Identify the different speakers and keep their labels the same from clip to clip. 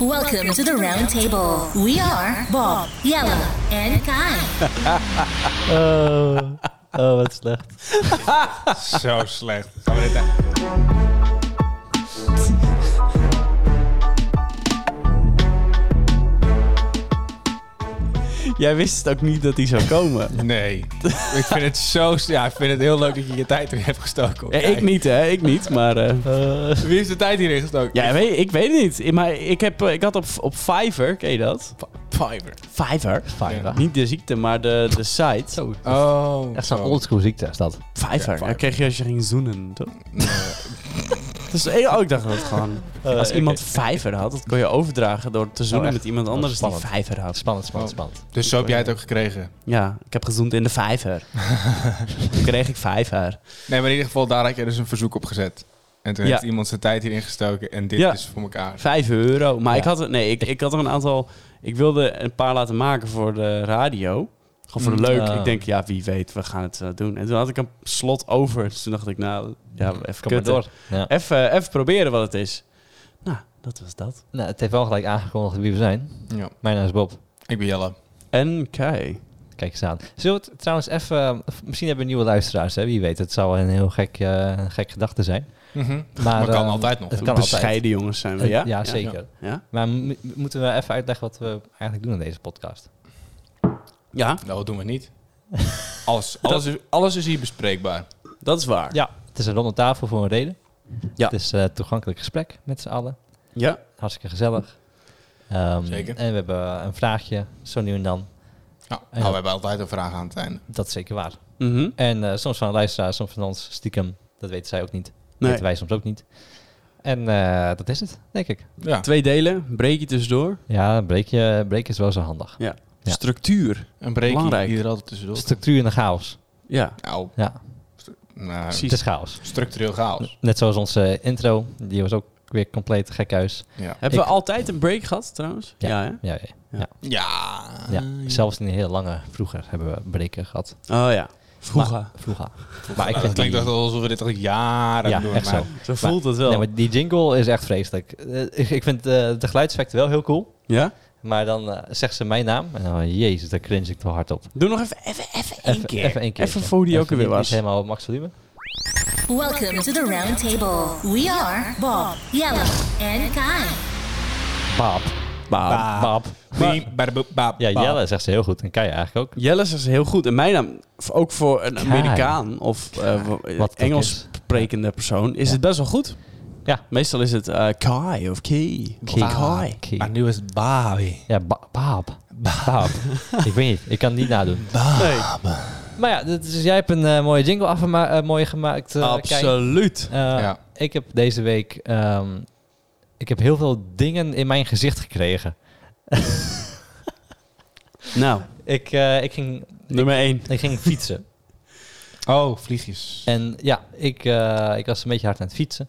Speaker 1: Welcome to the round table. We are Bob, Yella, and Kai.
Speaker 2: Oh, oh wat slecht.
Speaker 3: Zo slecht. Gaan we dit
Speaker 4: Jij wist ook niet dat die zou komen.
Speaker 3: Nee. ik vind het zo... s- Ja, ik vind het heel leuk dat je je tijd erin hebt gestoken.
Speaker 4: Ja, ik niet, hè? Ik niet, maar... eh,
Speaker 2: Eh,
Speaker 3: Wie heeft de tijd hierin gestoken?
Speaker 4: ja, weet, ik weet het niet. Ik- Maar ik, heb, eh, ik had op, op Fiverr, ken je dat?
Speaker 3: Fiverr.
Speaker 4: Fiverr?
Speaker 2: Fiverr.
Speaker 4: Niet de ziekte, maar de, de site.
Speaker 2: Zo.
Speaker 3: Oh.
Speaker 2: Echt zo'n oldschool ziekte is dat.
Speaker 4: Fiverr. Eh.
Speaker 3: Fiverr.
Speaker 4: Dat kreeg je als je ging zoenen, toch? Dus, eh, oh, ik dacht dat het gewoon... als
Speaker 2: oké.
Speaker 4: iemand Fiverr had, dat kon je overdragen door te zoenen
Speaker 2: echt?
Speaker 4: met iemand anders die
Speaker 2: spannend.
Speaker 4: Fiverr had.
Speaker 2: Spannend, spannend, spannend.
Speaker 3: Dus zo heb jij het ook gekregen.
Speaker 4: Ja, ik heb gezoend in de Fiverr. Toen kreeg ik Fiverr.
Speaker 3: Nee, maar in ieder geval, daar had je dus een verzoek op gezet. En toen
Speaker 4: Ja.
Speaker 3: heeft iemand zijn tijd hierin gestoken. En dit
Speaker 4: Ja.
Speaker 3: is voor elkaar.
Speaker 4: Vijf euro. Maar
Speaker 2: Ja.
Speaker 4: ik had er, nee, ik, ik had er een aantal. Ik wilde een paar laten maken voor de radio. Gewoon voor de
Speaker 2: Mm.
Speaker 4: leuk.
Speaker 2: Ah.
Speaker 4: Ik denk, ja, wie weet, we gaan het eh, doen. En toen had ik een slot over. Dus toen dacht ik, nou, ja, even
Speaker 2: Mm, Kom maar
Speaker 4: kutten.
Speaker 2: door. Ja.
Speaker 4: Even, eh, even proberen wat het is. Nou, dat was dat.
Speaker 2: Nou, het heeft wel gelijk aangekondigd wie we zijn.
Speaker 3: Ja.
Speaker 2: Mijn naam is Bob.
Speaker 3: Ik ben Jelle.
Speaker 4: En kei.
Speaker 2: Kijk eens aan. Zullen we het trouwens even... eh, of Misschien hebben we nieuwe luisteraars, hè? Wie weet. Het zou een heel gek, eh, een gek gedachte zijn.
Speaker 3: Maar, kan
Speaker 2: eh,
Speaker 3: altijd nog.
Speaker 2: het kan altijd. Eh,
Speaker 4: Bescheiden jongens zijn we, ja?
Speaker 2: Ja, zeker.
Speaker 4: Ja? Ja?
Speaker 2: Maar mo- moeten we even uitleggen wat we eigenlijk doen in deze podcast?
Speaker 4: Ja,
Speaker 3: Nou, dat doen we niet. Alles, alles, is, alles is hier bespreekbaar.
Speaker 4: dat is waar. Ja.
Speaker 2: Ja. Het is een ronde tafel voor een reden.
Speaker 4: Ja.
Speaker 2: Het is een toegankelijk gesprek met z'n allen. Hartstikke gezellig. Ehm,
Speaker 3: Zeker.
Speaker 2: En we hebben een vraagje, zo nu en dan.
Speaker 3: Ja.
Speaker 2: Ja.
Speaker 3: Nou, we hebben altijd een vraag aan het einde.
Speaker 2: Dat is zeker waar.
Speaker 4: Mhm.
Speaker 2: En eh, soms van een luisteraar, soms van ons stiekem. Dat weten zij ook niet. Dat
Speaker 4: Nee.
Speaker 2: weten wij soms ook niet. En eh, dat is het, denk ik.
Speaker 3: Ja.
Speaker 4: Twee delen, breek je tussendoor.
Speaker 2: Ja, een breekje, breekje is wel zo handig.
Speaker 4: Ja.
Speaker 2: Ja.
Speaker 4: Structuur.
Speaker 3: Een breekje
Speaker 4: Belangrijk.
Speaker 3: die er altijd tussendoor.
Speaker 2: Structuur in de chaos.
Speaker 4: Ja.
Speaker 3: Nou,
Speaker 2: Ja,
Speaker 3: nou,
Speaker 2: het is chaos.
Speaker 3: structureel chaos.
Speaker 2: Net zoals onze eh, intro, die was ook weer compleet gekhuis.
Speaker 3: Ja.
Speaker 4: Hebben
Speaker 2: Ik-
Speaker 4: we altijd een break gehad, trouwens?
Speaker 2: Ja.
Speaker 4: hè?
Speaker 2: Ja, ja,
Speaker 3: Ja.
Speaker 2: ja. zelfs in de hele lange vroeger hebben we breken gehad.
Speaker 4: Oh ja. Vroeger.
Speaker 2: Maar, vroeger.
Speaker 3: Maar ik
Speaker 2: vind
Speaker 3: Ah, klinkt
Speaker 2: die-
Speaker 3: echt alsof we dit al jaren
Speaker 2: Ja,
Speaker 3: doen.
Speaker 2: echt
Speaker 3: maar
Speaker 2: zo.
Speaker 4: zo voelt het wel.
Speaker 2: Nee, maar die jingle is echt vreselijk. Eh, ik, ik vind eh, de geluidseffecten wel heel cool.
Speaker 4: ja?
Speaker 2: Maar dan eh, zegt ze mijn naam. En dan, jezus, daar cringe ik te hard op.
Speaker 4: Doe nog even, even, even één
Speaker 2: Even-
Speaker 4: keer.
Speaker 2: Even één keer.
Speaker 4: Even voor die ook
Speaker 2: Even
Speaker 4: weer
Speaker 2: niet-
Speaker 4: was.
Speaker 2: Niet helemaal op max volume.
Speaker 1: Welcome to the round table. We are Bob, Yella, and Kai.
Speaker 2: Baap.
Speaker 4: Bah.
Speaker 3: Bah.
Speaker 2: Baap.
Speaker 3: Biem, bada boep, baap,
Speaker 2: Ja,
Speaker 3: baap.
Speaker 2: Jelle zegt ze heel goed. En Kai eigenlijk ook.
Speaker 4: Jelle is heel goed. En mijn naam, v- ook voor een
Speaker 2: Kai.
Speaker 4: Amerikaan of eh, w-
Speaker 2: Wat het ook
Speaker 4: Engels
Speaker 2: is.
Speaker 4: sprekende persoon, is
Speaker 2: Ja.
Speaker 4: het best wel goed.
Speaker 2: Ja.
Speaker 4: Meestal is het eh, Kai of Key. Of
Speaker 2: Kai.
Speaker 4: Kai.
Speaker 2: Kai.
Speaker 3: Maar nu is het baai.
Speaker 2: Ja, ba- baap. Baap. ik weet niet. Ik kan het niet nadoen.
Speaker 4: Nee,
Speaker 2: Maar ja, dit is- dus jij hebt een eh, mooie jingle afgema- eh, mooi gemaakt. eh, Kai.
Speaker 4: absoluut.
Speaker 2: Eh,
Speaker 3: Ja.
Speaker 2: Ik heb deze week... ehm, ik heb heel veel dingen in mijn gezicht gekregen.
Speaker 4: Nou,
Speaker 2: Ik, eh, ik, ging,
Speaker 4: nummer één.
Speaker 2: ik ging fietsen.
Speaker 3: Oh, vliegjes.
Speaker 2: En ja, ik, eh, ik was een beetje hard aan het fietsen.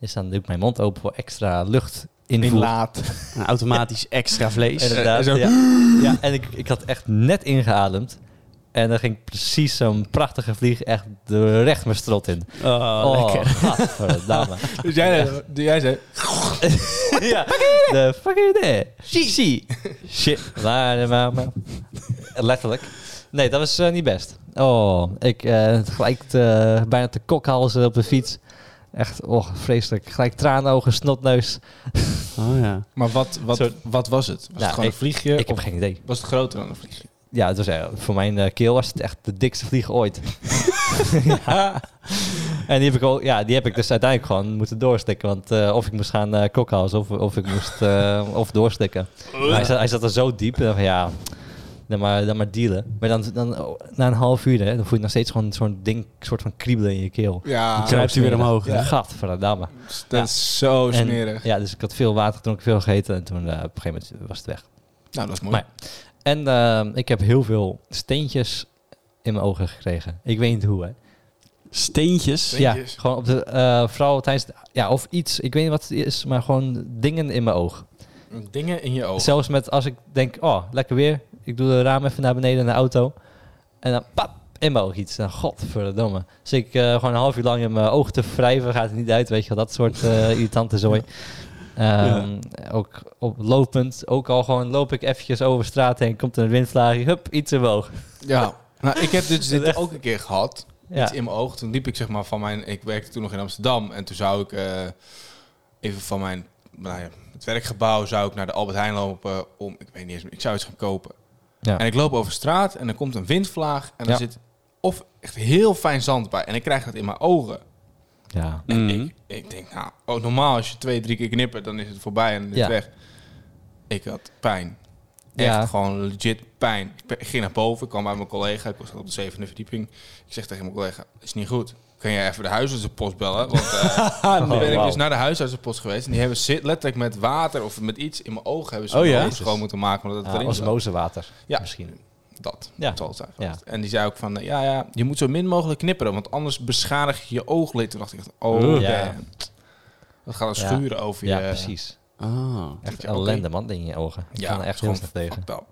Speaker 2: Dus dan doe ik mijn mond open voor extra lucht invoer.
Speaker 3: laat.
Speaker 4: Een automatisch extra vlees.
Speaker 2: Inderdaad,
Speaker 3: Eh, zo.
Speaker 2: ja. ja. En ik, ik had echt net ingeademd. En dan ging precies zo'n prachtige vlieg echt de- recht mijn strot in.
Speaker 4: Oh, lekker.
Speaker 2: gadverdamme.
Speaker 3: Dus jij, jij zei...
Speaker 2: ja. De fucking nee. Shishi. Shit. Laat mama. Letterlijk. Nee, dat was eh, niet best. Oh, ik eh gelijk te- bijna te kokhalzen op de fiets. Echt, oh, vreselijk. Gelijk traanogen, snotneus.
Speaker 4: Oh ja.
Speaker 3: Maar wat, wat,
Speaker 2: Zo-
Speaker 3: wat was het? Was
Speaker 2: Nou,
Speaker 3: het gewoon
Speaker 2: ik-
Speaker 3: een vliegje?
Speaker 2: Ik heb
Speaker 3: of
Speaker 2: geen idee.
Speaker 3: was het groter dan een vliegje?
Speaker 2: Ja, het was, eh, voor mijn eh, keel was het echt de dikste vlieg ooit. Ja. En die heb, ik al, ja, die heb ik dus uiteindelijk gewoon moeten doorstikken. Want eh, of ik moest gaan eh kokhalzen of, of ik moest eh, of doorstikken. Maar Hij, zat, hij zat er zo diep. en van, ja, dan maar, dan maar dealen. Maar dan, dan oh, na een half uur, hè, dan voel je nog steeds gewoon zo'n ding, soort van kriebelen in je keel.
Speaker 3: Ja,
Speaker 4: Kruipt hij weer omhoog.
Speaker 2: Ja. Gadverdamme.
Speaker 3: dat
Speaker 2: Ja.
Speaker 3: is zo
Speaker 2: En-
Speaker 3: smerig.
Speaker 2: Ja, dus ik had veel water gedronken, veel gegeten. En toen eh, op een gegeven moment was het weg.
Speaker 3: nou, dat is mooi.
Speaker 2: Maar- En ehm, ik heb heel veel steentjes in mijn ogen gekregen. Ik weet niet hoe, hè.
Speaker 4: Steentjes.
Speaker 3: Steentjes?
Speaker 2: Ja, gewoon op de, eh vooral tijdens, het- ja, of iets, ik weet niet wat het is, maar gewoon dingen in mijn oog.
Speaker 3: Dingen in je ogen.
Speaker 2: Zelfs met als ik denk, oh, lekker weer, ik doe de raam even naar beneden in de auto. En dan pap, in mijn oog iets. Dan, godverdomme. Dus ik eh, gewoon een half uur lang in mijn oog te wrijven, gaat het niet uit, weet je wel, dat soort eh, irritante zooi. Ehm, Ook op, lopend, ook al gewoon loop ik eventjes over straat heen, komt er een windvlaagje, hup, iets omhoog.
Speaker 3: Ja. Nou, ik heb dus dit ook een keer gehad.
Speaker 2: Ja.
Speaker 3: iets in mijn oog. Toen liep ik zeg maar van mijn... Ik werkte toen nog in Amsterdam. En toen zou ik eh, even van mijn... Nou ja, het werkgebouw zou ik naar de Albert Heijn lopen om... Ik weet niet eens meer. Ik zou iets gaan kopen.
Speaker 2: Ja.
Speaker 3: En ik loop over straat en er komt een windvlaag. En er
Speaker 2: Ja.
Speaker 3: zit of echt heel fijn zand bij. En ik krijg dat in mijn ogen.
Speaker 2: Ja.
Speaker 4: Mhm.
Speaker 3: Ik, ik denk, nou, oh, normaal als je twee, drie keer knippert, dan is het voorbij en dan is
Speaker 2: Ja.
Speaker 3: het weg. Ik had pijn. Echt
Speaker 2: Ja.
Speaker 3: gewoon legit pijn. Ik pe- ging naar boven, ik kwam bij mijn collega. Ik was op de zevende verdieping. Ik zeg tegen mijn collega, is niet goed. Kun jij even de huisartsenpost bellen? Want eh nu ben ik
Speaker 4: wauw.
Speaker 3: dus naar de huisartsenpost geweest. En die hebben zit, letterlijk met water of met iets in mijn ogen hebben ze
Speaker 4: Oh
Speaker 3: mijn
Speaker 4: ja?
Speaker 3: ogen schoon moeten maken. Omdat het
Speaker 2: Ja,
Speaker 3: erin zat.
Speaker 2: osmosewater
Speaker 3: Ja.
Speaker 2: misschien.
Speaker 3: Dat
Speaker 2: Ja.
Speaker 3: zal het zijn
Speaker 2: Ja.
Speaker 3: geweest. En die zei ook van, eh, ja, ja, je moet zo min mogelijk knipperen, want anders beschadig je je ooglid. Toen dacht ik, echt, oh
Speaker 4: Oeh.
Speaker 2: Ja.
Speaker 3: damn. Dat gaat dan
Speaker 2: Ja.
Speaker 3: schuren over je...
Speaker 2: Ja, precies.
Speaker 4: Ah.
Speaker 2: Echt
Speaker 3: je, oké.
Speaker 2: ellende, man, in je ogen. Ik
Speaker 3: Ja,
Speaker 2: kan er echt
Speaker 3: gewoon
Speaker 2: heel veel tegen.
Speaker 3: fucked up.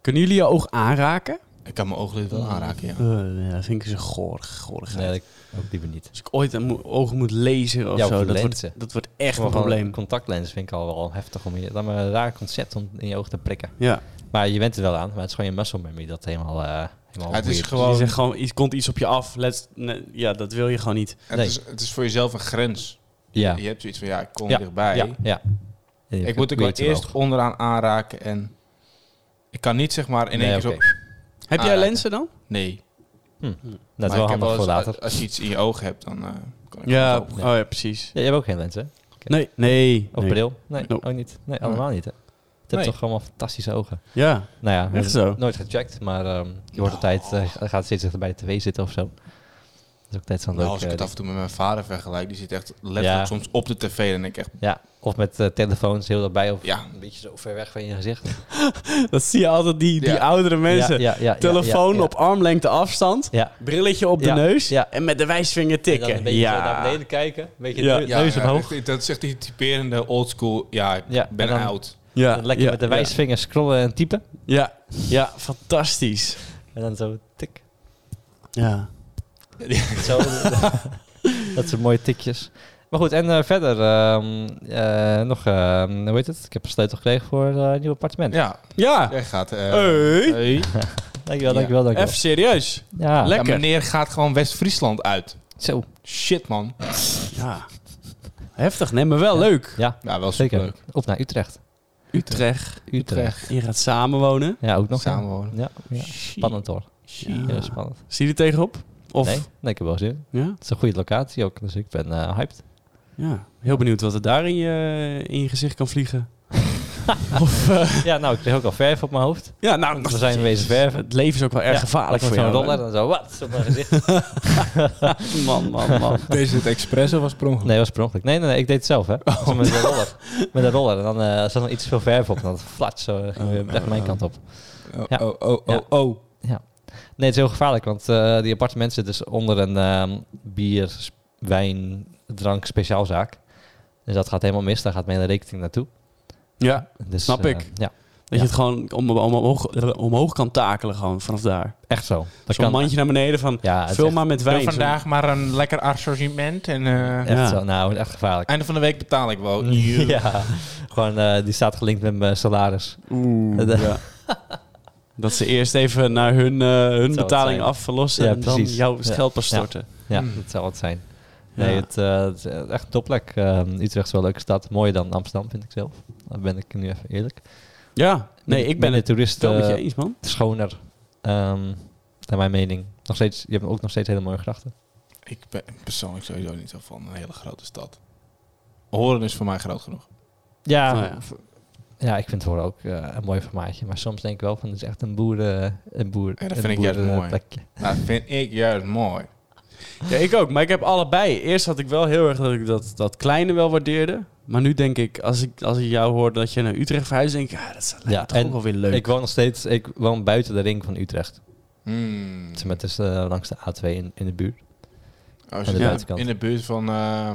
Speaker 4: Kunnen jullie je oog aanraken?
Speaker 3: Ik kan mijn ooglid
Speaker 2: Mm.
Speaker 3: wel aanraken, ja.
Speaker 2: Eh,
Speaker 4: nee, dat vind ik zo goor, goorigheid.
Speaker 2: Nee, ik- ook liever niet.
Speaker 4: Als ik ooit een mo- ogen moet lezen of
Speaker 2: Ja, of
Speaker 4: zo, dat
Speaker 2: lenzen.
Speaker 4: wordt, dat wordt echt een
Speaker 2: Gewoon
Speaker 4: probleem.
Speaker 2: een contactlens vind ik al wel heftig om je... Dan maar een raar concept om in je oog te prikken.
Speaker 4: Ja,
Speaker 2: Maar je bent er wel aan, maar het is gewoon je muscle memory dat helemaal... eh helemaal
Speaker 3: het is
Speaker 2: weird
Speaker 4: je
Speaker 3: gewoon...
Speaker 4: zegt gewoon, iets komt iets op je af. Let's, nee, ja, dat wil je gewoon niet.
Speaker 3: Het,
Speaker 2: Nee.
Speaker 3: is, het is voor jezelf een grens.
Speaker 2: Ja.
Speaker 3: Je hebt zoiets van, ja, ik kom
Speaker 2: Ja,
Speaker 3: dichtbij.
Speaker 2: Ja, ja. En je
Speaker 3: Ik moet ook wel
Speaker 2: weet het
Speaker 3: eerst onderaan aanraken en... Ik kan niet, zeg maar, in één
Speaker 2: Nee,
Speaker 3: keer
Speaker 2: oké.
Speaker 3: zo...
Speaker 4: Heb jij
Speaker 3: Aanraken.
Speaker 4: lenzen dan?
Speaker 3: Nee.
Speaker 2: Dat Nou, is
Speaker 3: Maar
Speaker 2: wel
Speaker 3: ik heb
Speaker 2: handig voor
Speaker 3: eens-
Speaker 2: later.
Speaker 3: Als je iets in je ogen hebt, dan eh, kan ik
Speaker 4: Ja,
Speaker 3: het
Speaker 4: oh
Speaker 3: ook.
Speaker 4: ja, precies.
Speaker 2: Ja, je hebt ook geen lens, hè?
Speaker 4: Nee, nee.
Speaker 2: Of
Speaker 4: nee.
Speaker 2: bril? Nee,
Speaker 4: Nope.
Speaker 2: ook niet. Nee,
Speaker 3: Nee.
Speaker 2: allemaal niet, hè? Het hebt
Speaker 3: Nee.
Speaker 2: toch allemaal fantastische ogen.
Speaker 4: Ja,
Speaker 2: Nou ja, we
Speaker 4: echt
Speaker 2: hebben
Speaker 4: zo.
Speaker 2: nooit gecheckt, maar ehm, je wordt altijd,
Speaker 3: Oh.
Speaker 2: eh, gaat steeds dichter bij de tv zitten of zo. Dat is ook altijd zo'n
Speaker 3: Nou,
Speaker 2: leuk...
Speaker 3: als ik
Speaker 2: eh,
Speaker 3: het af en toe met mijn vader vergelijk, die zit echt letterlijk
Speaker 2: Ja.
Speaker 3: soms op de tv. Dan denk ik echt,
Speaker 2: Ja, of met eh, telefoons heel daarbij of
Speaker 3: ja,
Speaker 2: een beetje zo ver weg van je gezicht.
Speaker 4: Dat zie je altijd, die, die
Speaker 3: Ja.
Speaker 4: oudere mensen.
Speaker 2: ja, ja,
Speaker 4: Telefoon
Speaker 2: ja, ja.
Speaker 4: op armlengte afstand.
Speaker 2: Ja.
Speaker 4: Brilletje op de
Speaker 2: Ja,
Speaker 4: neus.
Speaker 2: ja.
Speaker 4: En met de wijsvinger
Speaker 2: En dan
Speaker 4: tikken.
Speaker 2: een beetje zo naar
Speaker 4: ja.
Speaker 2: beneden kijken, een beetje
Speaker 4: Ja.
Speaker 2: de
Speaker 3: ja,
Speaker 2: neus
Speaker 3: ja,
Speaker 2: omhoog.
Speaker 3: echt, dat is echt die typerende oldschool, ja, ik
Speaker 2: Ja,
Speaker 3: ben
Speaker 2: en dan-
Speaker 3: oud.
Speaker 4: ja.
Speaker 2: En lekker
Speaker 4: ja,
Speaker 2: met de
Speaker 4: ja.
Speaker 2: wijsvinger scrollen en typen.
Speaker 4: Ja, ja, fantastisch.
Speaker 2: En dan zo tik.
Speaker 4: Ja.
Speaker 2: Zo, dat zijn mooie tikjes. Maar goed, en eh, verder ehm, eh, nog, ehm, hoe heet het? Ik heb een sleutel gekregen voor eh, een nieuw appartement.
Speaker 3: Ja,
Speaker 4: Ja.
Speaker 3: jij gaat... eh,
Speaker 4: Hey.
Speaker 3: hey.
Speaker 2: Dankjewel,
Speaker 3: Ja.
Speaker 2: dankjewel, dankjewel.
Speaker 4: Even serieus.
Speaker 2: ja,
Speaker 4: Lekker.
Speaker 3: Ja, meneer gaat gewoon West-Friesland uit.
Speaker 2: zo.
Speaker 3: Shit, man.
Speaker 4: Ja. Heftig, nee, maar wel leuk.
Speaker 2: Ja,
Speaker 3: Ja, wel
Speaker 2: zeker.
Speaker 3: superleuk.
Speaker 2: Op naar Utrecht.
Speaker 4: Utrecht.
Speaker 2: Utrecht.
Speaker 4: Je gaat samenwonen.
Speaker 2: Ja, ook nog. hè?
Speaker 3: Samenwonen.
Speaker 2: Ja, ja. spannend hoor.
Speaker 4: Ja.
Speaker 2: Heel spannend.
Speaker 4: Zie je er tegenop? Of?
Speaker 2: Nee, nee, ik heb wel zin.
Speaker 4: Ja?
Speaker 2: Het is een goede locatie ook, dus ik ben eh, hyped.
Speaker 4: ja. Heel benieuwd wat er daar in je, in je gezicht kan vliegen. of, eh,
Speaker 2: Ja, nou, ik kreeg ook al verf op mijn hoofd.
Speaker 4: ja, nou,
Speaker 2: We zijn wezen verven.
Speaker 4: het leven is ook wel erg
Speaker 2: Ja,
Speaker 4: gevaarlijk
Speaker 2: Met
Speaker 4: voor
Speaker 2: zo'n
Speaker 4: jou.
Speaker 2: roller en zo, wat? Op mijn gezicht.
Speaker 4: hè? Man, man, man.
Speaker 3: Deze het expres of was het per ongeluk?
Speaker 2: Nee, dat was per ongeluk. Nee, nee, nee, ik deed het zelf, hè.
Speaker 4: Oh.
Speaker 2: Zo met een roller. Met een roller. En dan eh, zat nog iets te veel verf op. En dan flats, zo eh, ging weer echt mijn kant op.
Speaker 3: Oh,
Speaker 2: Ja.
Speaker 3: oh, oh,
Speaker 2: Ja.
Speaker 3: oh, oh.
Speaker 2: Nee, het is heel gevaarlijk, want eh, die appartementen zitten dus onder een ehm, bier, s- wijn, drank speciaalzaak. Dus dat gaat helemaal mis, daar gaat mijn hele rekening naartoe.
Speaker 4: Ja,
Speaker 2: Dus,
Speaker 4: Snap
Speaker 2: eh,
Speaker 4: ik.
Speaker 2: Ja,
Speaker 4: dat je het gewoon om, om- omhoog, omhoog kan takelen gewoon vanaf daar.
Speaker 2: echt zo. Dat
Speaker 4: Zo'n mandje naar beneden van,
Speaker 2: Ja, het is
Speaker 4: vul
Speaker 2: echt,
Speaker 4: maar met wijn. Zo'n-
Speaker 3: maar een lekker assortiment en...
Speaker 2: echt
Speaker 4: Ja.
Speaker 2: zo. Nou, echt gevaarlijk.
Speaker 3: Einde van de week betaal ik wel.
Speaker 2: eh, Ja, gewoon, eh, die staat gelinkt met mijn salaris. Eh,
Speaker 4: Oeh,
Speaker 2: Dat-
Speaker 4: ja. Dat ze eerst even naar hun, eh, hun
Speaker 2: het
Speaker 4: betaling
Speaker 2: zijn.
Speaker 4: afverlossen
Speaker 2: Ja,
Speaker 4: en dan
Speaker 2: precies.
Speaker 4: jouw
Speaker 2: Ja.
Speaker 4: geld pas
Speaker 2: Ja.
Speaker 4: storten.
Speaker 2: Ja,
Speaker 3: Hmm.
Speaker 2: dat zou het zijn. Nee,
Speaker 4: Ja.
Speaker 2: het, eh, het is echt een topplek. Ehm, Utrecht is wel een leuke stad. Mooier dan Amsterdam, vind ik zelf. Daar ben ik nu even eerlijk.
Speaker 4: Ja, nee, ik ben
Speaker 2: de
Speaker 4: het
Speaker 2: toerist
Speaker 4: wel met je
Speaker 2: eh,
Speaker 4: eens, man.
Speaker 2: schoner. ehm, naar mijn mening. Nog steeds, je hebt ook nog steeds hele mooie grachten.
Speaker 3: Ik ben persoonlijk sowieso niet zo van een hele grote stad. Horen is voor mij groot genoeg.
Speaker 2: Ja,
Speaker 4: Nou ja.
Speaker 2: v- ja, ik vind het horen ook eh, een mooi formaatje. Maar soms denk ik wel van, het is echt een boeren... Een boer,
Speaker 3: Ja, dat
Speaker 2: een
Speaker 3: vind ik juist mooi.
Speaker 2: plekje.
Speaker 3: Nou, dat vind ik juist mooi.
Speaker 4: Ja, ik ook, maar ik heb allebei. Eerst had ik wel heel erg dat ik dat, dat kleine wel waardeerde. Maar nu denk ik, als ik, als ik jou hoor dat je naar Utrecht verhuist, denk ik, ah, dat is
Speaker 2: Ja,
Speaker 4: toch ook
Speaker 2: en
Speaker 4: wel weer leuk.
Speaker 2: Ik woon nog steeds... Ik woon buiten de ring van Utrecht.
Speaker 3: Hmm.
Speaker 2: Zeg maar, Het is eh, langs de A2 in, in de buurt.
Speaker 3: Oh,
Speaker 2: de
Speaker 3: zit dat
Speaker 2: buitenkant.
Speaker 3: in de buurt van... eh,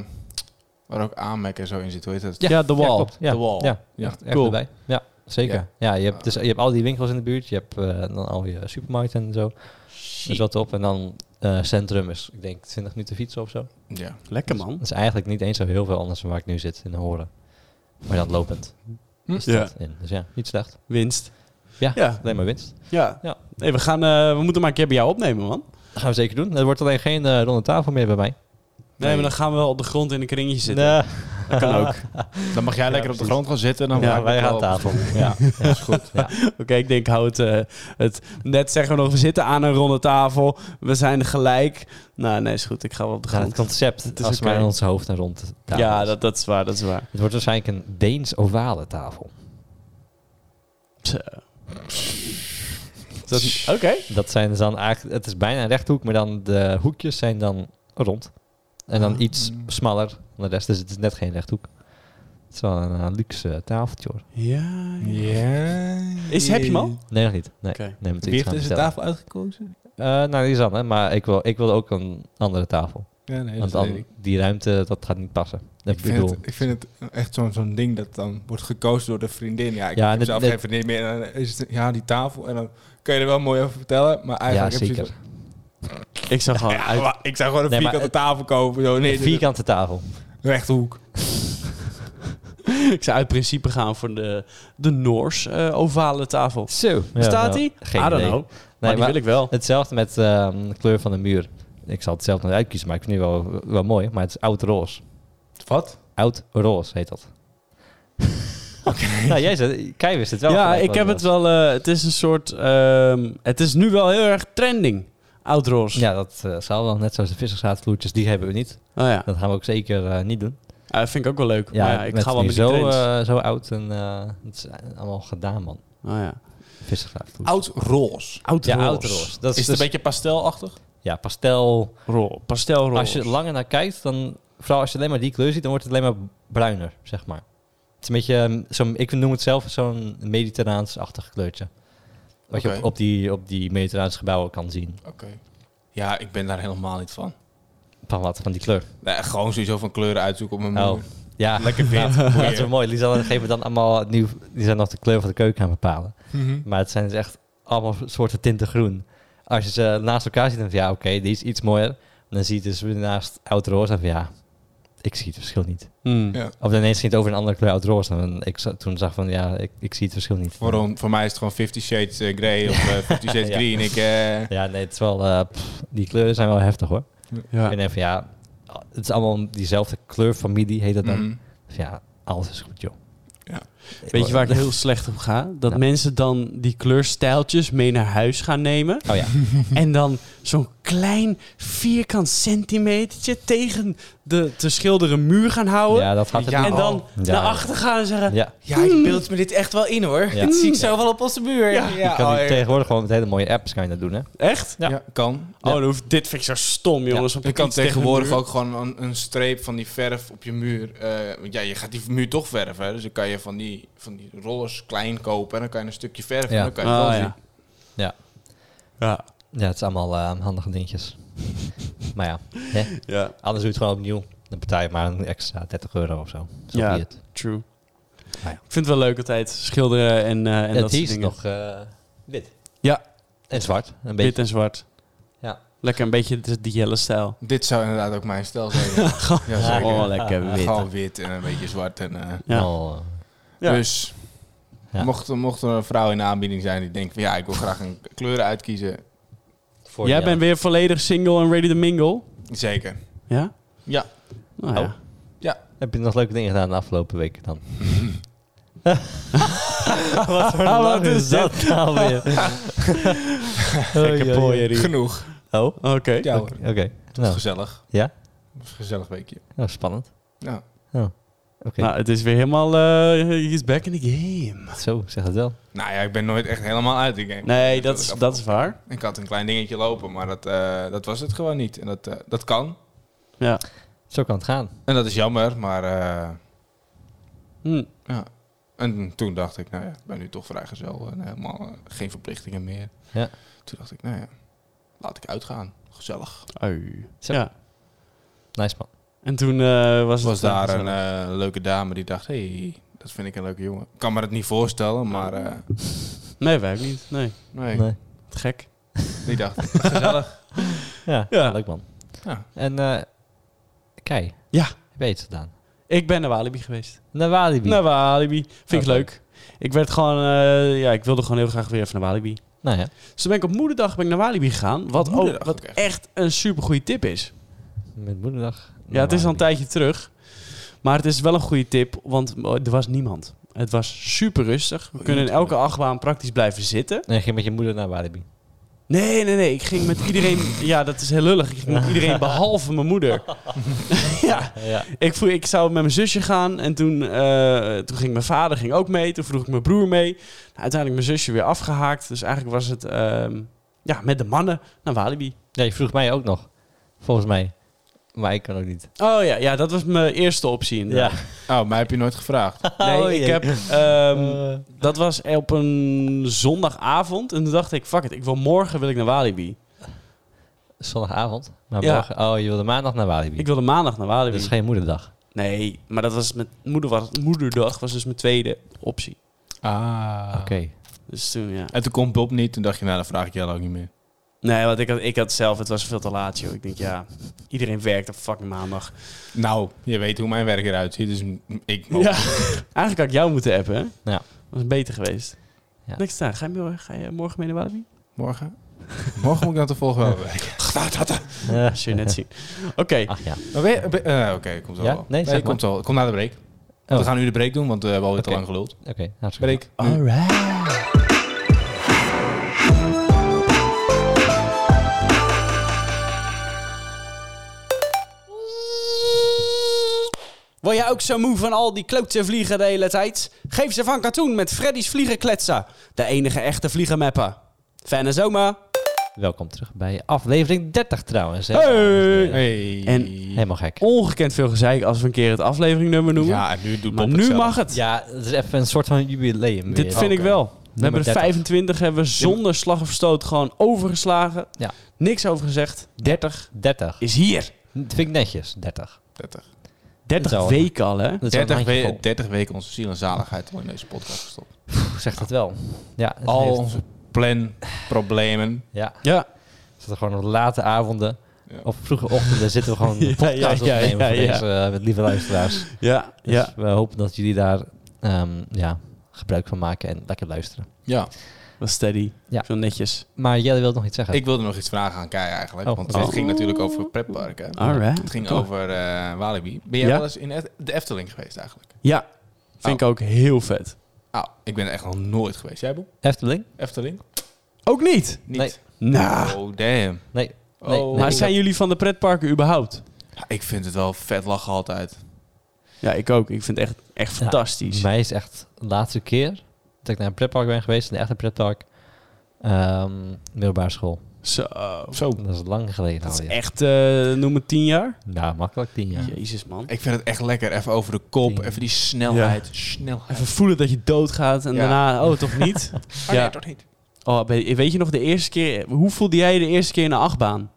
Speaker 3: waar ook Aanmek en zo in zit. Hoe heet dat?
Speaker 4: ja, de wall.
Speaker 2: klopt. Ja,
Speaker 3: De Wall.
Speaker 2: Ja,
Speaker 3: Ja,
Speaker 2: echt, echt
Speaker 4: cool.
Speaker 2: erbij. Ja, zeker. Ja,
Speaker 3: Ja.
Speaker 2: je, hebt dus, je hebt al die winkels in de buurt. Je hebt eh, dan al je supermarkten en zo. Dus dat op. En dan eh, centrum is, ik denk, 20 minuten fietsen of zo.
Speaker 3: Ja.
Speaker 4: Lekker man.
Speaker 2: Dat is eigenlijk niet eens zo heel veel anders dan waar ik nu zit in Horen. Maar dan lopend. Is
Speaker 4: Ja.
Speaker 2: dat in. Dus ja, niet slecht.
Speaker 4: Winst.
Speaker 2: Ja,
Speaker 4: Ja.
Speaker 2: alleen maar winst.
Speaker 4: Ja.
Speaker 2: Ja.
Speaker 4: Nee, we, gaan, eh, we moeten maar een keer bij jou opnemen, man.
Speaker 2: Dat gaan we zeker doen. Er wordt alleen geen eh ronde tafel meer bij mij.
Speaker 4: Nee, maar dan gaan we wel op de grond in een kringetje zitten.
Speaker 2: Nee.
Speaker 4: Dat kan ook.
Speaker 3: Dan mag jij lekker op de grond gaan zitten. Dan
Speaker 2: Ja,
Speaker 3: maak Nou, ik
Speaker 2: wij
Speaker 3: wel
Speaker 2: gaan
Speaker 3: op
Speaker 2: tafel.
Speaker 3: de grond. Ja, dat is goed.
Speaker 4: Oké, ik denk, hou het, eh, het... Net zeggen we nog, we zitten aan een ronde tafel. We zijn gelijk. Nou, nee, is goed. Ik ga wel op de
Speaker 2: Ja, het
Speaker 4: grond.
Speaker 2: concept
Speaker 4: Het
Speaker 2: het
Speaker 4: is
Speaker 2: is als
Speaker 4: oké.
Speaker 2: maar in ons hoofd en rond de
Speaker 4: Ja,
Speaker 2: tafel is.
Speaker 4: dat, dat is waar, dat is waar.
Speaker 2: Het wordt waarschijnlijk een Deens ovale tafel.
Speaker 4: Zo. Is dat- Oké.
Speaker 2: Dat zijn dus dan eigenlijk, het is bijna een rechthoek, maar dan de hoekjes zijn dan rond. En dan
Speaker 3: Ah.
Speaker 2: iets smaller dan de rest, dus het is net geen rechthoek. Het is wel een, eh, luxe tafeltje hoor.
Speaker 4: Ja. ja.
Speaker 3: Ja.
Speaker 4: Is, heb je hem al?
Speaker 2: Nee, nog niet. Nee,
Speaker 4: Oké.
Speaker 2: nee moet
Speaker 3: Wie
Speaker 2: ik
Speaker 3: heeft
Speaker 2: iets gaan
Speaker 3: deze
Speaker 2: bestellen.
Speaker 3: tafel uitgekozen?
Speaker 2: Eh, nou, die is aan, hè, maar ik wil, ik wil ook een andere tafel.
Speaker 3: Ja, nee,
Speaker 2: Want
Speaker 3: dat
Speaker 2: dan-
Speaker 3: weet ik.
Speaker 2: die ruimte, dat gaat niet passen. Ik
Speaker 3: Ik vind,
Speaker 2: bedoel,
Speaker 3: het, ik vind het echt zo'n zo'n ding dat dan wordt gekozen door de vriendin. Ja, ik
Speaker 2: Ja,
Speaker 3: heb
Speaker 2: dit-
Speaker 3: zelf
Speaker 2: dit-
Speaker 3: geen vriendin meer. En dan is het, ja, die tafel. En dan kun je er wel mooi over vertellen. Maar
Speaker 2: ja,
Speaker 3: eigenlijk heb je
Speaker 2: zeker.
Speaker 3: zoiets
Speaker 4: Ik zag gewoon
Speaker 3: van,
Speaker 4: uit.
Speaker 3: ja, maar ik zou gewoon een
Speaker 2: Nee, maar
Speaker 3: vierkante tafel kopen. Zo. Nee,
Speaker 2: Een vierkante tafel.
Speaker 3: rechthoek.
Speaker 4: Ik zou uit principe gaan voor de, de Noors eh, ovale tafel.
Speaker 2: Zo.
Speaker 4: Staat die?
Speaker 2: Geen
Speaker 4: I don't
Speaker 2: idee.
Speaker 4: know. maar die
Speaker 2: maar-
Speaker 4: wil ik wel.
Speaker 2: Hetzelfde met ehm, de kleur van de muur. Ik zal het zelf nog uitkiezen, maar ik vind het wel, wel mooi. Maar het is oud roze.
Speaker 3: Wat?
Speaker 2: Oud roze heet dat. nou, jij zei, Kai wist het wel.
Speaker 4: ja,
Speaker 2: gelijk
Speaker 4: ik
Speaker 2: wat
Speaker 4: heb het
Speaker 2: was.
Speaker 4: wel. eh, het is een soort. ehm, het is nu wel heel erg trending. Outroos.
Speaker 2: Ja, dat eh, zal wel. Net zoals de vissersraatvloertjes, die hebben we niet.
Speaker 4: Oh ja.
Speaker 2: Dat gaan we ook zeker eh, niet doen.
Speaker 4: Ah, dat vind ik ook wel leuk.
Speaker 2: Ja,
Speaker 4: maar ja, ik
Speaker 2: met
Speaker 4: ga wel
Speaker 2: die
Speaker 4: met die
Speaker 2: zo,
Speaker 4: trends.
Speaker 2: eh, zo oud en eh, het is allemaal gedaan, man.
Speaker 4: oh ja.
Speaker 2: Vissersraatvloertjes.
Speaker 3: Oud roze.
Speaker 4: Outroos.
Speaker 2: Ja, oud roze. Dat is,
Speaker 3: Is het
Speaker 2: dus-
Speaker 3: een beetje pastelachtig?
Speaker 2: ja, pastel.
Speaker 4: Ro- pastelroze.
Speaker 2: Als je langer naar kijkt, dan vooral als je alleen maar die kleur ziet, dan wordt het alleen maar bruiner, zeg maar. Het is een beetje, ehm, zo'n- ik noem het zelf zo'n mediterraans-achtig kleurtje. Wat je op,
Speaker 3: Oké.
Speaker 2: op die, op die mediterraanse gebouwen kan zien.
Speaker 3: Oké. Ja, ik ben daar helemaal niet van.
Speaker 2: Van wat, van die kleur.
Speaker 3: Nee, gewoon sowieso van kleuren uitzoeken op mijn
Speaker 2: Oh,
Speaker 3: muur.
Speaker 2: Ja,
Speaker 3: Mm. Lekker wit.
Speaker 2: dat is wel mooi. Die zal op een gegeven moment dan allemaal nieuw, die zijn nog de kleur van de keuken aan het bepalen.
Speaker 4: Mhm.
Speaker 2: Maar het zijn dus echt allemaal soorten tinten groen. Als je ze naast elkaar ziet, dan van ja, oké, die is iets mooier. Dan zie je het dus weer naast oud roze en van ja, ik zie het verschil niet.
Speaker 4: Hmm.
Speaker 3: Ja.
Speaker 2: Of ineens ging het over een andere kleur uit roze. En ik za- toen zag van, ja, ik, ik zie het verschil niet.
Speaker 3: Voor, voor mij is het gewoon 50 Shades eh, Grey of eh, 50 Shades
Speaker 2: Ja.
Speaker 3: Green. Ik, eh,
Speaker 2: Ja, nee, het is wel... eh, pff, die kleuren zijn wel heftig, hoor.
Speaker 4: Ja.
Speaker 2: En even, ja, het is allemaal diezelfde kleurfamilie, heet dat dan.
Speaker 3: mm.
Speaker 2: Dus ja, alles is goed, joh.
Speaker 3: Ja.
Speaker 4: Weet je waar ik heel slecht op ga? Dat
Speaker 2: Nou.
Speaker 4: mensen dan die kleurstijltjes mee naar huis gaan nemen.
Speaker 2: Oh ja,
Speaker 4: En dan zo'n klein vierkant centimetertje tegen de te schilderen muur gaan houden.
Speaker 2: ja dat had het
Speaker 3: Ja,
Speaker 4: en
Speaker 2: niet.
Speaker 4: dan
Speaker 2: Ja.
Speaker 4: naar achter gaan en zeggen...
Speaker 2: Ja,
Speaker 3: Ja, ik beeld me dit echt wel in hoor.
Speaker 2: Ja.
Speaker 3: Dit zie ik zo wel op onze muur. Ja,
Speaker 2: je kan
Speaker 3: oh,
Speaker 2: die
Speaker 3: ja.
Speaker 2: tegenwoordig gewoon met hele mooie apps kan je dat doen, hè.
Speaker 4: Echt?
Speaker 3: Ja, kan.
Speaker 4: Oh, dan hoeft, dit vind ik zo stom, jongens. op
Speaker 3: Je kan
Speaker 4: iets tegen
Speaker 3: tegenwoordig
Speaker 4: de muur.
Speaker 3: ook gewoon een, een streep van die verf op je muur. eh, want ja, je gaat die muur toch verven. hè. Dus dan kan je van die, van die rollers klein kopen en dan kan je een stukje verven.
Speaker 2: Ja.
Speaker 3: En dan kan je het wel
Speaker 4: Ah,
Speaker 3: zien.
Speaker 4: ja.
Speaker 2: Ja.
Speaker 4: Ja.
Speaker 2: Ja, het is allemaal eh, handige dingetjes. maar ja, hè?
Speaker 4: Ja.
Speaker 2: anders doe je het gewoon opnieuw. Dan betaal je maar een extra 30 euro of zo. Zo
Speaker 4: Ja.
Speaker 2: be it.
Speaker 4: True.
Speaker 2: Ah, ja.
Speaker 4: Ik vind het wel leuk altijd schilderen en, eh, en dat
Speaker 2: En het
Speaker 4: soort
Speaker 2: is
Speaker 4: dingen.
Speaker 2: nog eh, wit.
Speaker 4: Ja.
Speaker 2: En zwart. Een beetje.
Speaker 4: Wit en zwart.
Speaker 2: Ja.
Speaker 4: Lekker een beetje de, die jelle stijl.
Speaker 3: Dit zou inderdaad ook mijn stijl zijn. ja, zeker.
Speaker 4: Oh, lekker wit.
Speaker 3: Gewoon wit en een beetje zwart. En, eh,
Speaker 4: Ja.
Speaker 2: Oh,
Speaker 4: Ja.
Speaker 3: Dus
Speaker 2: Ja.
Speaker 3: mocht, er- mocht er een vrouw in de aanbieding zijn die denkt van ja, ik wil graag een kleur uitkiezen.
Speaker 2: voor
Speaker 4: Jij
Speaker 2: jou.
Speaker 4: bent weer volledig single en ready to mingle.
Speaker 3: Zeker.
Speaker 4: Ja?
Speaker 3: Ja.
Speaker 4: Nou ja.
Speaker 2: Oh. Heb je nog leuke dingen gedaan de afgelopen week dan? Wat
Speaker 4: Wat
Speaker 2: voor lang
Speaker 4: is
Speaker 2: is dat nou weer?
Speaker 4: Gekke pooierie.
Speaker 3: Genoeg.
Speaker 2: Oh, oké.
Speaker 4: Oké.
Speaker 3: Ja hoor.
Speaker 2: Nou,
Speaker 3: Gezellig.
Speaker 2: ja?
Speaker 3: Het was een gezellig weekje.
Speaker 2: Nou, spannend.
Speaker 3: Ja.
Speaker 2: Oké,
Speaker 4: Nou, het is weer helemaal... eh he's back in the game.
Speaker 2: zo zeg het wel.
Speaker 3: Nou ja, ik ben nooit echt helemaal uit die game.
Speaker 4: Nee, dat is, dat is waar.
Speaker 3: Ik had een klein dingetje lopen, maar dat, eh, dat was het gewoon niet. En dat, eh, dat kan.
Speaker 4: Ja.
Speaker 2: Zo kan het gaan.
Speaker 3: En dat is jammer, maar... eh,
Speaker 4: Hm.
Speaker 3: ja. En toen dacht ik, nou ja, ik ben nu toch vrijgezel en helemaal eh, geen verplichtingen meer.
Speaker 2: Ja.
Speaker 3: Toen dacht ik, nou ja, laat ik uitgaan. Gezellig.
Speaker 4: Ui.
Speaker 2: Zo.
Speaker 4: Ja.
Speaker 2: Nice man.
Speaker 4: En toen eh, was
Speaker 3: Er
Speaker 4: het...
Speaker 3: was daar een
Speaker 4: Ja.
Speaker 3: eh, leuke dame die dacht, hey, dat vind ik een leuke jongen. Ik kan me dat niet voorstellen, maar eh,
Speaker 4: Nee, wij ook niet. Nee.
Speaker 3: nee,
Speaker 2: Nee.
Speaker 4: Te gek.
Speaker 3: die dacht ik. Gezellig.
Speaker 2: Ja,
Speaker 4: Ja.
Speaker 2: leuk man.
Speaker 3: Ja.
Speaker 2: En eh Kei,
Speaker 4: Ja.
Speaker 2: heb je iets gedaan?
Speaker 4: Ik ben naar Walibi geweest.
Speaker 2: Naar Walibi.
Speaker 4: Naar Walibi. Vind ik
Speaker 2: Oké.
Speaker 4: leuk. Ik werd gewoon, eh, ja, ik wilde gewoon heel graag weer even naar Walibi.
Speaker 2: Nou ja.
Speaker 4: Dus toen ben ik op moederdag ben ik naar Walibi gegaan. Wat, ook,
Speaker 3: Moederdag
Speaker 4: wat
Speaker 3: ook echt.
Speaker 4: echt een supergoeie tip is.
Speaker 2: Met moederdag.
Speaker 4: Ja, het is al een tijdje terug. Maar het is wel een goede tip, want oh, er was niemand. Het was super rustig.
Speaker 2: Oh,
Speaker 4: We kunnen in elke achtbaan praktisch blijven zitten.
Speaker 2: Nee, ging met je moeder naar Walibi.
Speaker 4: Nee, nee, nee. Ik ging met iedereen... Ja, dat is heel lullig. Ik ging met iedereen behalve mijn moeder. ja,
Speaker 2: Ja.
Speaker 4: ik, voel, ik zou met mijn zusje gaan en toen, eh, toen ging mijn vader ging ook mee. Toen vroeg ik mijn broer mee. Nou, uiteindelijk mijn zusje weer afgehaakt. Dus eigenlijk was het ehm, ja, met de mannen naar Walibi.
Speaker 2: ja, je vroeg mij ook nog. Volgens mij. Maar ik kan ook niet.
Speaker 4: Oh ja, ja dat was mijn eerste optie. inderdaad.
Speaker 3: Oh, mij heb je nooit gevraagd.
Speaker 4: Nee,
Speaker 2: Oh,
Speaker 4: ik
Speaker 2: jee.
Speaker 4: heb, ehm,
Speaker 2: Eh.
Speaker 4: dat was op een zondagavond. En toen dacht ik, fuck it, ik wil morgen wil ik naar Walibi.
Speaker 2: Zondagavond. Maar
Speaker 4: Ja.
Speaker 2: morgen. Oh, je wilde maandag naar Walibi.
Speaker 4: Ik wilde maandag naar Walibi.
Speaker 2: Dat is geen moederdag.
Speaker 4: Nee, maar dat was met moeder was, moederdag was dus mijn tweede optie.
Speaker 3: Ah.
Speaker 2: Oké.
Speaker 4: Dus toen, ja.
Speaker 3: En toen komt Bob niet. Toen dacht je, nou, dan vraag ik jou ook niet meer.
Speaker 4: Nee, want ik had, ik had zelf, het was veel te laat, joh. Ik denk, ja, iedereen werkt op fucking maandag.
Speaker 3: Nou, je weet hoe mijn werk eruit ziet. Dus m- ik mag.
Speaker 4: Ja. Eigenlijk had ik jou moeten appen, hè?
Speaker 2: Ja.
Speaker 4: Was beter geweest.
Speaker 2: Ja.
Speaker 4: Niks staan. Ga je, morgen- ga je morgen mee naar Walibi?
Speaker 3: Morgen? Morgen moet ik dan de volgende wel werken.
Speaker 2: Eh,
Speaker 4: Dat zul je net zien. Oké.
Speaker 2: Ach ja.
Speaker 3: Maar ben je- ben- eh, Oké, komt wel.
Speaker 2: Ja?
Speaker 3: wel.
Speaker 2: Nee, zeg maar.
Speaker 3: komt wel. Kom na de break.
Speaker 2: Oh.
Speaker 3: We gaan nu de break doen, want eh, we hebben alweer
Speaker 2: Oké.
Speaker 3: te lang geluld.
Speaker 2: Oké, nou, hartstikke
Speaker 3: Break. Nu.
Speaker 4: Word jij ook zo moe van al die klootse vliegen de hele tijd? Geef ze van katoen met Freddy's Vliegenkletsen. De enige echte vliegenmapper. Fijne zomer.
Speaker 2: Welkom terug bij aflevering 30 trouwens. Hè?
Speaker 3: Hey.
Speaker 4: En-
Speaker 2: Helemaal gek.
Speaker 4: Ongekend veel gezeik als we een keer het afleveringnummer noemen.
Speaker 3: Ja, en nu doet
Speaker 4: maar
Speaker 3: Bob
Speaker 4: nu
Speaker 3: het zelf.
Speaker 4: mag het.
Speaker 2: Ja, het is even een soort van jubileum
Speaker 4: Dit
Speaker 2: weer.
Speaker 4: vind ik
Speaker 3: Oké.
Speaker 4: wel. We hebben de
Speaker 2: 30.
Speaker 4: 25 hebben we zonder slag of stoot gewoon overgeslagen.
Speaker 2: Ja.
Speaker 4: Niks over gezegd. 30
Speaker 2: 30.
Speaker 4: is hier.
Speaker 2: Dat vind ik netjes, 30.
Speaker 3: 30.
Speaker 4: 30
Speaker 2: Zo.
Speaker 4: weken al, hè?
Speaker 2: Dat is wel een
Speaker 3: 30,
Speaker 2: handjevol.
Speaker 3: we- 30 weken onze ziel en zaligheid al in deze podcast gestopt.
Speaker 2: Pff, zegt het wel. Ja, het
Speaker 3: Al
Speaker 2: heeft-
Speaker 3: onze plan, problemen.
Speaker 2: ja.
Speaker 4: Ja.
Speaker 2: We zitten gewoon op late avonden
Speaker 3: Ja.
Speaker 2: of vroege ochtenden zitten we gewoon
Speaker 4: Ja,
Speaker 2: een podcast
Speaker 4: ja, ja,
Speaker 2: opnemen voor
Speaker 4: ja, ja.
Speaker 2: deze eh, met lieve luisteraars. Dus
Speaker 4: Ja. ja.
Speaker 2: we hopen dat jullie daar ehm, ja, gebruik van maken en lekker luisteren.
Speaker 3: Ja.
Speaker 4: Wat steady.
Speaker 2: Ja.
Speaker 4: Zo netjes.
Speaker 2: Maar Jelle wilde nog iets zeggen.
Speaker 3: Ik wilde nog iets vragen aan Kai eigenlijk.
Speaker 2: Oh,
Speaker 3: want
Speaker 2: oké.
Speaker 3: het ging natuurlijk over pretparken.
Speaker 4: All right.
Speaker 3: Het ging over eh, Walibi. Ben jij
Speaker 4: Ja.
Speaker 3: wel eens in Ef- de Efteling geweest eigenlijk?
Speaker 4: Ja. Vind ik ook heel vet.
Speaker 3: Nou, ik ben er echt nog nooit geweest. Jij, Bob?
Speaker 2: Efteling?
Speaker 3: Efteling?
Speaker 4: Ook niet?
Speaker 3: Niet?
Speaker 2: Nee.
Speaker 4: Nou.
Speaker 3: Oh, damn.
Speaker 2: Nee.
Speaker 3: Oh.
Speaker 2: nee, nee.
Speaker 4: Maar zijn jullie van de pretparken überhaupt?
Speaker 3: Ja, ik vind het wel vet lachen altijd. dat
Speaker 4: Ja, ik ook. Ik vind het echt, echt fantastisch.
Speaker 2: Mij is echt de laatste keer dat ik naar een pretpark ben geweest, een echte pretpark, ehm middelbare school.
Speaker 4: Zo.
Speaker 3: Zo.
Speaker 2: Dat is lang geleden
Speaker 4: Oh. Dat
Speaker 3: Nou,
Speaker 2: al.
Speaker 4: is
Speaker 2: Ja.
Speaker 4: echt, eh noem het 10 jaar?
Speaker 2: ja, makkelijk tien jaar.
Speaker 4: Jezus, man.
Speaker 3: Ik vind het echt lekker. Even over de kop.
Speaker 2: Ding.
Speaker 3: Even die snelheid. Snelheid.
Speaker 4: Even voelen dat je doodgaat en
Speaker 3: Ja.
Speaker 4: daarna, oh, toch niet?
Speaker 3: Oh,
Speaker 4: ja.
Speaker 3: nee, toch niet.
Speaker 4: Oh, ben- weet je nog de eerste keer? Hoe voelde jij je de eerste keer in de achtbaan?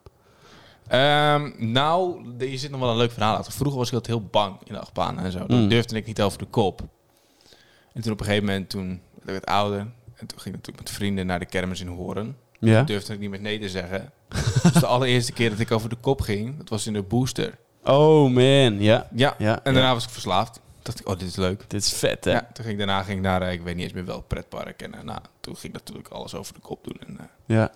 Speaker 3: Ehm, nou, de- je zit nog wel een leuk verhaal achter. Vroeger was ik altijd heel bang in de achtbaan en zo.
Speaker 4: Mm.
Speaker 3: Dan durfde ik niet over de kop. En toen op een gegeven moment, toen werd ik wat ouder. En toen ging ik natuurlijk met vrienden naar de kermis in Horen.
Speaker 4: Ja.
Speaker 3: Durfde ik niet meer nee te zeggen. dus de allereerste keer dat ik over de kop ging, dat was in de booster.
Speaker 4: Oh man, ja.
Speaker 3: Ja,
Speaker 4: Ja,
Speaker 3: en daarna was ik verslaafd. Dacht ik, oh, dit is leuk.
Speaker 4: Dit is vet, hè?
Speaker 3: Ja, toen ging ik daarna ging ik naar, eh, ik weet niet eens meer welk pretpark. En eh, nou, toen ging ik natuurlijk alles over de kop doen. En, eh,
Speaker 4: Ja.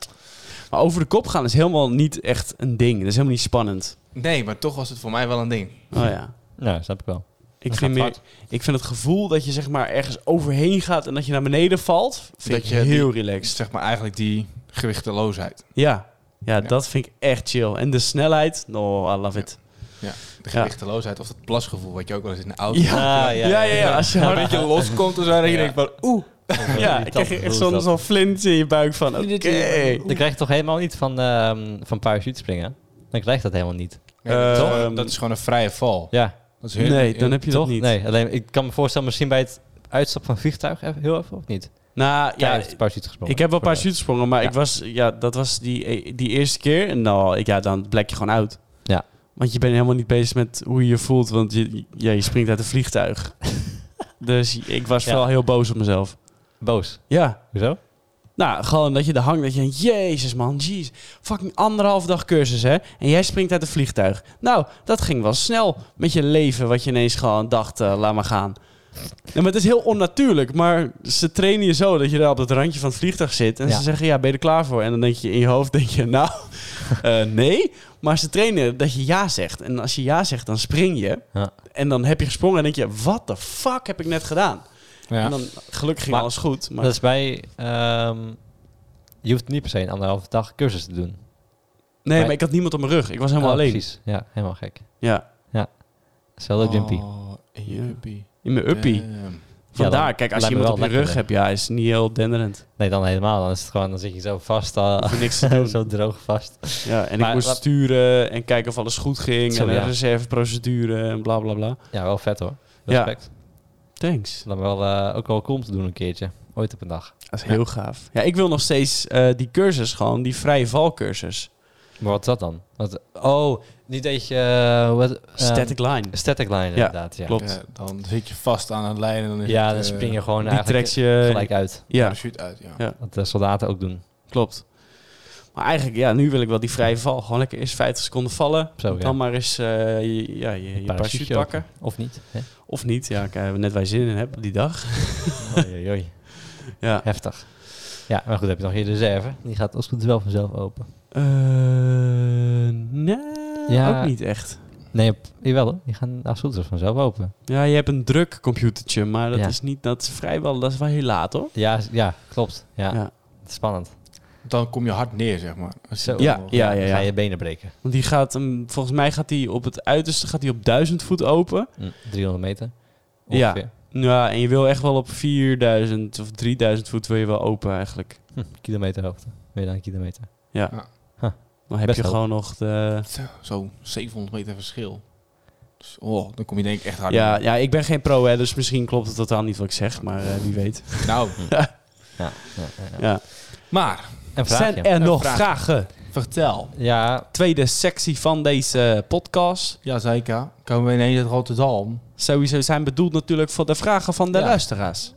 Speaker 4: Maar over de kop gaan is helemaal niet echt een ding. Dat is helemaal niet spannend.
Speaker 3: nee, maar toch was het voor mij wel een ding.
Speaker 4: Oh ja.
Speaker 2: Nou, snap ik wel.
Speaker 4: Ik
Speaker 3: Dat
Speaker 4: vind,
Speaker 3: gaat
Speaker 4: meer, ik vind het gevoel dat je zeg maar ergens overheen gaat en dat je naar beneden valt, vind
Speaker 3: Dat
Speaker 4: ik
Speaker 3: je die-
Speaker 4: heel
Speaker 3: Ik
Speaker 4: relaxed.
Speaker 3: zeg maar eigenlijk die gewichteloosheid.
Speaker 4: Ja. ja,
Speaker 3: Ja.
Speaker 4: dat vind ik echt chill. En de snelheid, no, I love it.
Speaker 3: De
Speaker 4: Ja.
Speaker 3: gewichteloosheid of dat plasgevoel wat je ook wel eens in de auto
Speaker 4: Ja.
Speaker 2: Ah,
Speaker 4: Ja, ja, ja. Als je
Speaker 3: Maar
Speaker 4: hard,
Speaker 3: dat je loskomt en zo, en je
Speaker 2: Ja.
Speaker 3: denkt van, oeh.
Speaker 4: ja, ik krijg echt zo'n zo'n flint in je buik van, oké.
Speaker 2: Dan krijg je toch helemaal niet van, ehm van parachute springen? Dan krijg je dat helemaal niet.
Speaker 3: Nee, dat is
Speaker 4: Ehm,
Speaker 3: gewoon- dat is gewoon een vrije val.
Speaker 2: Ja,
Speaker 3: Dat is heel-
Speaker 4: Nee, dan heb je
Speaker 2: toch?
Speaker 4: dat niet.
Speaker 2: Nee, alleen ik kan me voorstellen misschien bij het uitstap van een vliegtuig even, heel even of niet?
Speaker 4: Nou,
Speaker 2: Ja,
Speaker 4: ja,
Speaker 2: heeft de parachute gesprongen.
Speaker 4: Ik heb wel een paar
Speaker 2: Voor de-
Speaker 4: shoots gesprongen, maar
Speaker 2: Ja.
Speaker 4: ik was, ja, dat was die, eh, die eerste keer. En nou, ik- ja, dan blek je gewoon uit.
Speaker 2: Ja.
Speaker 4: Want je bent helemaal niet bezig met hoe je je voelt, want je, ja, je springt uit een vliegtuig. dus ik was
Speaker 2: Ja.
Speaker 4: vooral heel boos op mezelf.
Speaker 2: Boos.
Speaker 4: Ja,
Speaker 2: Hoezo?
Speaker 4: Nou, gewoon dat je er hangt. Dat je denkt, jezus man, jeez. Fucking anderhalf dag cursus, hè. En jij springt uit een vliegtuig. Nou, dat ging wel snel met je leven. Wat je ineens gewoon dacht, eh, laat maar gaan. Ja, maar het is heel onnatuurlijk. Maar ze trainen je zo dat je daar op het randje van het vliegtuig zit. En
Speaker 2: Ja.
Speaker 4: ze zeggen, ja, ben je er klaar voor? En dan denk je in je hoofd, denk je, nou, eh, nee. Maar ze trainen dat je ja zegt. En als je ja zegt, dan spring je.
Speaker 2: Ja.
Speaker 4: En dan heb je gesprongen en denk je, wat de fuck heb ik net gedaan? En dan, gelukkig ging
Speaker 2: Maar-
Speaker 4: alles goed. Maar
Speaker 2: Dat is bij... ehm, je hoeft niet per se een anderhalve dag cursus te doen.
Speaker 4: nee,
Speaker 2: bij-
Speaker 4: maar ik had niemand op mijn rug. Ik was helemaal
Speaker 2: Oh,
Speaker 4: alleen.
Speaker 2: Precies, ja. Helemaal gek.
Speaker 4: Ja,
Speaker 2: Zelfde jumpy.
Speaker 3: Oh, een
Speaker 4: Ja.
Speaker 3: jumpy.
Speaker 4: in mijn uppie.
Speaker 3: Damn.
Speaker 4: Vandaar,
Speaker 2: dan
Speaker 4: kijk, als je
Speaker 2: lijkt me
Speaker 4: iemand op
Speaker 2: wel
Speaker 4: je rug
Speaker 2: lekkerder.
Speaker 4: hebt, ja, is niet heel denderend.
Speaker 2: Nee, dan helemaal. Dan, is het gewoon, dan zit je zo vast. Al,
Speaker 4: Hoef je niks te doen.
Speaker 2: Ah. zo droog vast.
Speaker 4: Ja, en ik
Speaker 2: Maar
Speaker 4: moest
Speaker 2: wat-
Speaker 4: sturen en kijken of alles goed ging.
Speaker 2: Zo,
Speaker 4: en
Speaker 2: ja.
Speaker 4: een reserveprocedure en bla bla bla.
Speaker 2: Ja, wel vet hoor.
Speaker 4: Ja.
Speaker 2: Respect.
Speaker 4: Thanks.
Speaker 2: Dan wel, eh, ook wel cool om te doen een keertje. Ooit op een dag.
Speaker 4: Dat is heel gaaf. Ja, ik wil nog steeds eh, die cursus gewoon, die vrije valcursus.
Speaker 2: Maar wat is dat dan? Wat, oh, niet dat je... eh, wat, ehm,
Speaker 4: Static line.
Speaker 2: static line inderdaad, ja.
Speaker 4: klopt.
Speaker 3: Ja, dan zit je vast aan een lijn en dan is
Speaker 2: Ja,
Speaker 3: het,
Speaker 2: dan
Speaker 3: eh,
Speaker 2: spring je gewoon
Speaker 4: Die eh,
Speaker 2: eigenlijk eh,
Speaker 4: trekt je...
Speaker 2: gelijk uit.
Speaker 4: Ja,
Speaker 3: parachute uit. Ja.
Speaker 4: Ja.
Speaker 2: Wat de soldaten ook doen.
Speaker 4: klopt. Maar eigenlijk, ja, nu wil ik wel die vrije val. Gewoon lekker eerst 50 seconden vallen.
Speaker 2: Zo, ja.
Speaker 4: Dan maar eens eh, je, ja, je, je parachute pakken.
Speaker 2: open. Of niet. Hè?
Speaker 4: Of niet, ja, ik heb net wij zin in hebben die dag.
Speaker 2: Oei, oei, oei.
Speaker 4: Ja.
Speaker 2: Heftig. Ja, maar goed, heb je nog je reserve. Die gaat als het goed is wel vanzelf open.
Speaker 4: Eh, nee,
Speaker 2: Ja.
Speaker 4: ook niet echt.
Speaker 2: Nee, op- jawel hoor. Die gaan als het goed is vanzelf open.
Speaker 4: Ja, je hebt een druk computertje, maar dat
Speaker 2: Ja.
Speaker 4: is niet, dat is vrijwel, dat is wel heel laat hoor.
Speaker 2: Ja, s- ja klopt. Ja.
Speaker 4: Ja.
Speaker 2: Spannend.
Speaker 3: Dan kom je hard neer, zeg maar. Als je
Speaker 2: Zo.
Speaker 4: Ja,
Speaker 3: omhoog-
Speaker 4: ja, ja,
Speaker 2: Dan
Speaker 4: ja.
Speaker 2: Ga je benen breken.
Speaker 4: Want die gaat, hem- volgens mij gaat die op het uiterste gaat die op 1000 voet open.
Speaker 2: Hm, 300 meter.
Speaker 4: Ja.
Speaker 2: Ongeveer.
Speaker 4: Ja, en je wil echt wel op 4000 of 3000 voet wil je wel open eigenlijk.
Speaker 2: Hm, kilometer hoogte. Meer dan een kilometer.
Speaker 4: Dan heb
Speaker 2: Best
Speaker 4: je
Speaker 2: wel.
Speaker 4: gewoon nog de...
Speaker 3: Zo, Zo 700 meter verschil. Dus, oh, dan kom je denk ik echt hard
Speaker 4: Ja,
Speaker 3: ja.
Speaker 4: ja, ik ben geen pro hè, dus misschien klopt het totaal niet wat ik zeg, maar eh, wie weet.
Speaker 3: Nou,
Speaker 2: Ja, ja, ja, ja.
Speaker 4: Ja.
Speaker 3: maar
Speaker 2: En vraag
Speaker 4: Zijn
Speaker 2: je.
Speaker 4: er nog
Speaker 3: vraag.
Speaker 4: vragen?
Speaker 3: vertel.
Speaker 2: Ja,
Speaker 4: Tweede sectie van deze podcast.
Speaker 3: Ja, zeker. Komen we ineens uit Rotterdam.
Speaker 4: Sowieso zijn bedoeld natuurlijk voor de vragen van de
Speaker 2: Ja.
Speaker 4: luisteraars.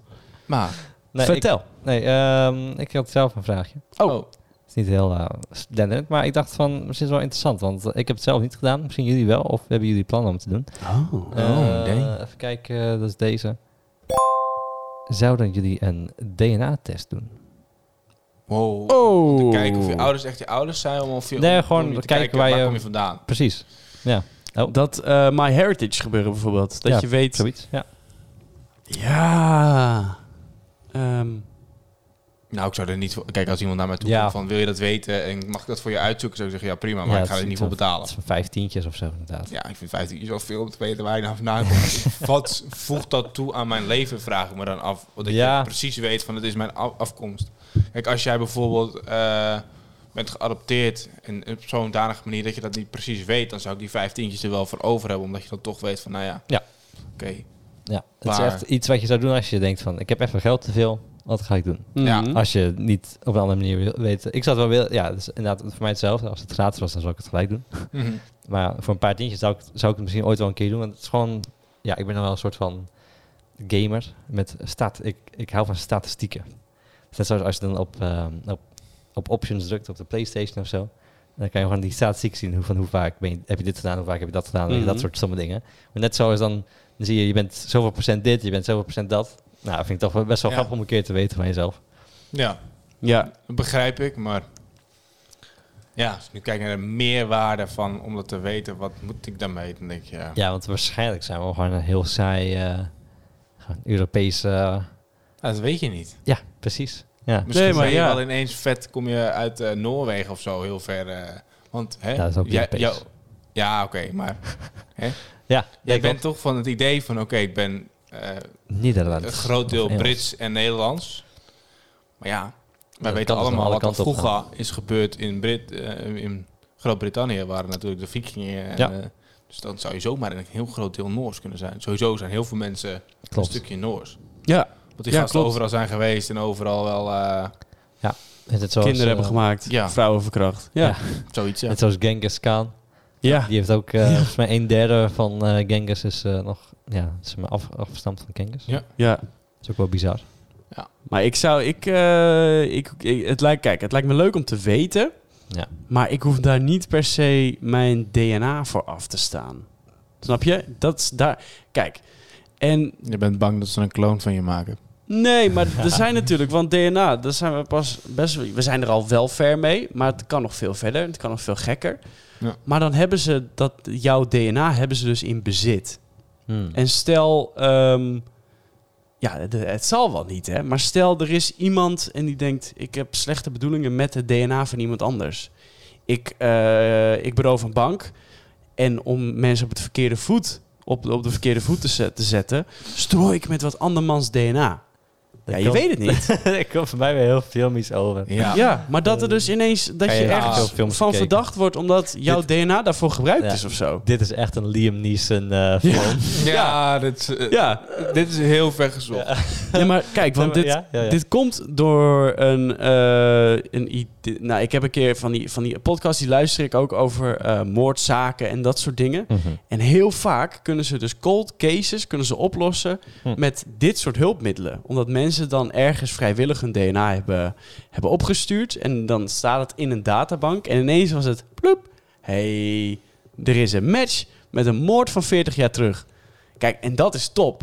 Speaker 3: Maar,
Speaker 2: nee,
Speaker 4: Vertel.
Speaker 2: Ik, nee, ehm, ik had zelf een vraagje.
Speaker 4: Oh.
Speaker 2: Het is niet heel eh denderend, maar ik dacht van, misschien is het wel interessant, want eh, ik heb het zelf niet gedaan. Misschien jullie wel, of hebben jullie plannen om het te doen?
Speaker 4: Oh.
Speaker 2: Eh,
Speaker 3: nee.
Speaker 2: Even kijken, eh, dat is deze. Zouden jullie een DNA-test doen?
Speaker 3: wow.
Speaker 4: oh.
Speaker 3: Kijken of je ouders echt je ouders zijn. Om of je,
Speaker 2: Nee,
Speaker 3: om-
Speaker 2: gewoon
Speaker 3: om je te
Speaker 2: kijken waar
Speaker 3: waar
Speaker 2: je-
Speaker 3: kom je vandaan.
Speaker 2: Precies,
Speaker 4: Dat eh My Heritage gebeuren bijvoorbeeld. Dat
Speaker 2: Ja,
Speaker 4: je weet.
Speaker 2: zoiets. Ja.
Speaker 4: Ja. Ehm,
Speaker 3: Nou, ik zou er niet voor... Kijk, als iemand naar mij toe
Speaker 2: Ja.
Speaker 3: komt van... Wil je dat weten en mag ik dat voor je uitzoeken? Zou ik zeggen, ja prima, maar
Speaker 2: Ja,
Speaker 3: ik ga
Speaker 2: het
Speaker 3: er
Speaker 2: is
Speaker 3: niet
Speaker 2: iets
Speaker 3: voor betalen.
Speaker 2: Van vijftientjes of zo, inderdaad.
Speaker 3: Ja, ik vind 15 uur zoveel om te weten waar je nou vandaan komt. Wat voegt dat toe aan mijn leven, vraag ik me dan af. Want ik
Speaker 2: Ja.
Speaker 3: precies weet van, het is mijn af- afkomst. Kijk, als jij bijvoorbeeld eh, bent geadopteerd en op zo'n danige manier dat je dat niet precies weet, dan zou ik die vijftientjes er wel voor over hebben, omdat je dan toch weet van, nou ja,
Speaker 2: Ja.
Speaker 3: oké.
Speaker 2: Ja, het is
Speaker 3: Maar-
Speaker 2: echt iets wat je zou doen als je denkt van, ik heb even geld te veel, wat ga ik doen?
Speaker 3: Ja.
Speaker 4: mhm.
Speaker 2: Als je niet op een andere manier wil weten. Ik zou het wel willen, ja, dat is inderdaad voor mij hetzelfde. Als het gratis was, dan zou ik het gelijk doen.
Speaker 3: Mhm.
Speaker 2: Maar voor een paar tientjes zou ik, het- zou ik het misschien ooit wel een keer doen. Want het is gewoon... Ja, ik ben nog wel een soort van gamer. Met stat, ik, ik hou van statistieken. Dus net zoals als je dan op, ehm, op, op options drukt op de Playstation of zo. Dan kan je gewoon die statistieken zien. Hoe, van hoe vaak ben je, heb je dit gedaan, hoe vaak heb je dat gedaan. weet je,
Speaker 4: Mhm.
Speaker 2: Dat soort stomme dingen. Maar net zoals dan, dan zie je, je bent zoveel procent dit, je bent zoveel procent dat. Nou, vind ik toch wel best wel
Speaker 3: Ja.
Speaker 2: grappig om een keer te weten van jezelf.
Speaker 3: Ja,
Speaker 4: ja.
Speaker 3: dat begrijp ik, maar... Ja, als ik nu kijk naar de meerwaarde van om dat te weten, wat moet ik daarmee? Dan denk je, ja.
Speaker 2: Ja, want waarschijnlijk zijn we gewoon een heel saai eh, gewoon Europese... eh,
Speaker 3: dat weet je niet.
Speaker 2: ja, precies. Ja.
Speaker 3: Misschien
Speaker 4: Nee, maar
Speaker 3: ben je
Speaker 4: ja.
Speaker 3: wel ineens vet, kom je uit eh, Noorwegen of zo, heel ver. eh, want hè,
Speaker 2: Ja, dat is ook
Speaker 3: jij-
Speaker 2: Europees.
Speaker 3: jou- ja, oké, maar
Speaker 2: Ja,
Speaker 3: jij
Speaker 2: ik
Speaker 3: bent toch van het idee van, oké, ik ben eh,
Speaker 2: Nederland.
Speaker 3: een groot
Speaker 2: Of
Speaker 3: deel
Speaker 2: Engels.
Speaker 3: Brits en Nederlands. Maar ja, wij
Speaker 2: dat
Speaker 3: weten
Speaker 2: kan dus
Speaker 3: allemaal
Speaker 2: alle
Speaker 3: wat er
Speaker 2: kanten op
Speaker 3: vroeger is gebeurd in, Brit, eh, in Groot-Brittannië, waren natuurlijk de vikingen. en,
Speaker 2: Ja.
Speaker 3: eh, dus dan zou je zomaar een heel groot deel Noors kunnen zijn. Sowieso zijn heel veel mensen
Speaker 2: Klopt.
Speaker 3: een stukje Noors.
Speaker 4: Ja,
Speaker 3: Want die
Speaker 4: Ja,
Speaker 3: gasten
Speaker 4: klopt.
Speaker 3: overal zijn geweest en overal wel eh,
Speaker 2: Net zoals,
Speaker 4: kinderen hebben
Speaker 2: eh,
Speaker 4: gemaakt.
Speaker 3: ja.
Speaker 4: Vrouwen verkracht. Ja.
Speaker 2: Ja.
Speaker 4: Ja.
Speaker 3: zoiets. Ja.
Speaker 2: Net zoals Genghis Khan. Die heeft ook, eh, volgens mij, een derde van eh Genghis is eh, nog, ja, is maar af, afgestamd van Genghis.
Speaker 3: Ja.
Speaker 4: Ja.
Speaker 2: Dat is ook wel bizar.
Speaker 3: Ja.
Speaker 4: Maar ik zou, ik, eh, ik, ik- het lijkt, kijk, het lijkt me leuk om te weten.
Speaker 2: Ja.
Speaker 4: Maar ik hoef daar niet per se mijn DNA voor af te staan. Snap je? Dat is daar. Kijk. En
Speaker 3: Je bent bang dat ze een kloon van je maken.
Speaker 4: nee, maar er zijn natuurlijk, want DNA, daar zijn we pas best. We zijn er al wel ver mee, maar het kan nog veel verder. Het kan nog veel gekker.
Speaker 3: Ja.
Speaker 4: Maar dan hebben ze dat jouw DNA hebben ze dus in bezit.
Speaker 2: Hmm.
Speaker 4: En stel, ehm, ja, de- het zal wel niet, hè? Maar stel, er is iemand en die denkt: ik heb slechte bedoelingen met het DNA van iemand anders. Ik, eh ik beroof een bank. En om mensen op, het verkeerde voet, op, op de verkeerde voet te, zet- te zetten, strooi ik met wat andermans DNA. Ja, je
Speaker 2: kan-
Speaker 4: weet het niet.
Speaker 2: Ik kom voor mij weer heel filmisch over.
Speaker 3: Ja.
Speaker 4: Ja, maar dat er dus ineens dat
Speaker 2: Kan
Speaker 4: je,
Speaker 2: je
Speaker 3: echt
Speaker 4: ergens
Speaker 2: veel films
Speaker 4: van
Speaker 2: bekeken?
Speaker 4: verdacht wordt omdat jouw DNA daarvoor gebruikt
Speaker 2: Ja.
Speaker 4: is of zo.
Speaker 2: Dit is echt een Liam Neeson eh, film.
Speaker 3: Ja, Dit, is, eh,
Speaker 4: Ja,
Speaker 3: dit is heel ver gezocht.
Speaker 4: ja, maar kijk, want dit,
Speaker 2: Ja, ja, ja.
Speaker 4: Dit komt door een, eh, een idee. Nou, ik heb een keer van die, van die podcast die luister ik ook over eh, moordzaken en dat soort dingen.
Speaker 2: Mhm.
Speaker 4: En heel vaak kunnen ze dus cold cases kunnen ze oplossen
Speaker 2: Hm.
Speaker 4: met dit soort hulpmiddelen. Omdat mensen dan ergens vrijwillig hun DNA hebben, hebben opgestuurd. En dan staat het in een databank. En ineens was het ploep. hey, er is een match met een moord van 40 jaar terug. Kijk, en dat is top.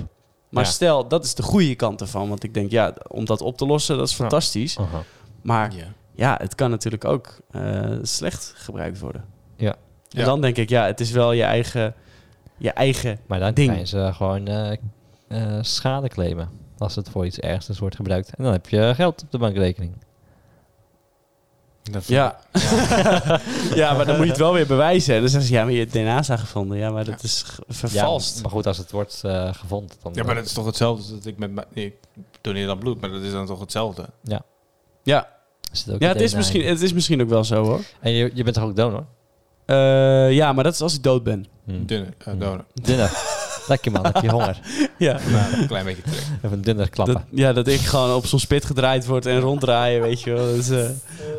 Speaker 4: Maar
Speaker 2: Ja.
Speaker 4: stel, dat is de goede kant ervan. Want ik denk, ja, om dat op te lossen, dat is fantastisch.
Speaker 2: Aha.
Speaker 4: Maar
Speaker 3: Ja.
Speaker 4: ja, het kan natuurlijk ook eh, slecht gebruikt worden.
Speaker 2: Ja.
Speaker 4: En
Speaker 3: Ja.
Speaker 4: dan denk ik, ja, het is wel je eigen, je eigen
Speaker 2: Maar dan
Speaker 4: Ding.
Speaker 2: kan je ze gewoon eh, eh, schade claimen. Als het voor iets ergsters wordt gebruikt. En dan heb je geld op de bankrekening.
Speaker 3: Dat vind ik-
Speaker 4: Ja. ja, maar dan moet je het wel weer bewijzen. En dan zeggen ze, ja, maar je DNA is aangevonden. Ja, maar dat is ge- vervalst.
Speaker 2: Ja, maar goed, als het wordt eh, gevonden. Dan,
Speaker 3: ja, maar dat is toch hetzelfde als dat ik met mijn... Ik doneer dan bloed, maar dat is dan toch hetzelfde?
Speaker 4: Ja,
Speaker 2: zit ook
Speaker 4: ja het,
Speaker 2: meteen
Speaker 4: is
Speaker 2: in.
Speaker 4: misschien, het is misschien ook wel zo, hoor.
Speaker 2: En je, je bent toch ook donor?
Speaker 4: Eh, ja, maar dat is als ik dood ben.
Speaker 2: Hmm.
Speaker 3: Dunne, eh,
Speaker 2: Hm.
Speaker 3: donor.
Speaker 2: Dunner. Lekker man, heb je honger.
Speaker 4: Ja.
Speaker 3: Maar een klein beetje terug.
Speaker 2: Even dunner klappen.
Speaker 4: Dat, ja, dat ik gewoon op zo'n spit gedraaid word en ronddraaien, weet je wel. Dus, eh,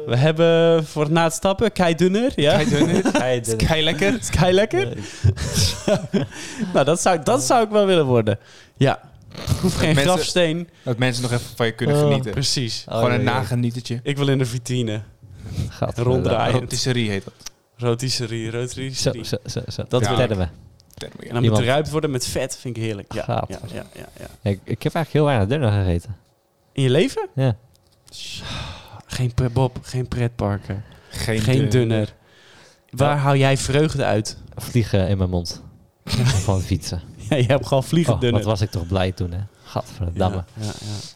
Speaker 4: we hebben voor het na het stappen Kai Dunner. Ja?
Speaker 3: dunner.
Speaker 2: Hij dunner.
Speaker 3: Kei lekker.
Speaker 4: Is Kai lekker? nou, dat zou, dat zou ik wel willen worden. Ja. Ik hoef geen
Speaker 3: Mensen-
Speaker 4: grafsteen.
Speaker 3: Dat mensen nog even van je kunnen
Speaker 2: Oh.
Speaker 3: genieten.
Speaker 4: Precies.
Speaker 2: Oh,
Speaker 3: Gewoon
Speaker 2: jee,
Speaker 3: een
Speaker 2: jee.
Speaker 3: nagenietertje.
Speaker 4: Ik wil in de vitrine.
Speaker 2: Gadverdamme.
Speaker 4: ronddraaien. Ah, ja.
Speaker 3: Rotisserie heet dat.
Speaker 4: Rotisserie, rotisserie.
Speaker 2: Zo, zo, zo, zo.
Speaker 4: Dat
Speaker 2: Dat
Speaker 3: wil ik.
Speaker 2: vertellen we.
Speaker 3: Term, ja.
Speaker 4: En dan moet
Speaker 2: Iemand-
Speaker 4: geruimd worden met vet, vind ik heerlijk. Ja,
Speaker 2: Gaaf.
Speaker 4: ja, ja, ja, ja.
Speaker 2: Ja, ik, ik heb eigenlijk heel weinig dunner gegeten.
Speaker 4: In je leven?
Speaker 2: Ja.
Speaker 4: Geen pre- Bob, geen pretparken,
Speaker 3: Geen,
Speaker 4: geen,
Speaker 3: dun-
Speaker 4: dunner. Waar hou jij vreugde uit?
Speaker 2: Vliegen in mijn mond. Van fietsen.
Speaker 4: Ja, je hebt gewoon vliegend
Speaker 2: Oh, wat
Speaker 4: dunner.
Speaker 2: was ik toch blij toen, hè? Gadverdamme.
Speaker 4: Ja, ja,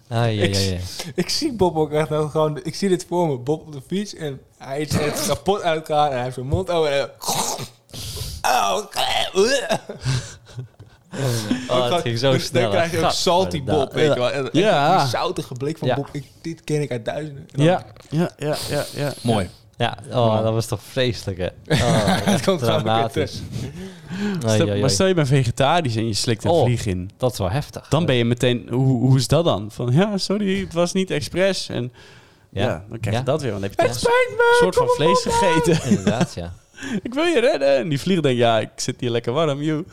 Speaker 4: ja.
Speaker 2: Ja. ja,
Speaker 3: Ik- Ik zie Bob ook echt nou gewoon... Ik zie dit voor me. Bob op de fiets en hij is echt kapot uit elkaar. En hij heeft zijn mond over en... Oh,
Speaker 2: Oh, het ging zo
Speaker 3: dan,
Speaker 2: snel.
Speaker 3: Dan krijg je ook salty Bob, weet je wel. En, en
Speaker 4: Ja.
Speaker 3: Die zoutige blik van
Speaker 2: Ja.
Speaker 3: Bob. Ik, dit ken ik uit duizenden. En dan-
Speaker 4: Ja, ja, ja, ja, ja.
Speaker 3: Mooi.
Speaker 2: Ja, oh, dat was toch vreselijk, hè? Oh,
Speaker 3: Het komt gewoon weer
Speaker 2: dramatisch.
Speaker 3: terug.
Speaker 2: Ai,
Speaker 4: Stel-
Speaker 2: ai, ai.
Speaker 4: maar stel je bent vegetarisch en je slikt een
Speaker 2: Oh.
Speaker 4: vlieg in.
Speaker 2: Dat is wel heftig.
Speaker 4: Dan ben je meteen, hoe, hoe is dat dan? Van ja, sorry, het was niet expres. En ja,
Speaker 2: Ja.
Speaker 4: dan krijg je
Speaker 2: Ja.
Speaker 4: dat weer. Want dan heb je toch een soort van vlees gegeten.
Speaker 2: Inderdaad, ja.
Speaker 4: ik wil je redden. En die vlieg denkt, ja, ik zit hier lekker warm, joh.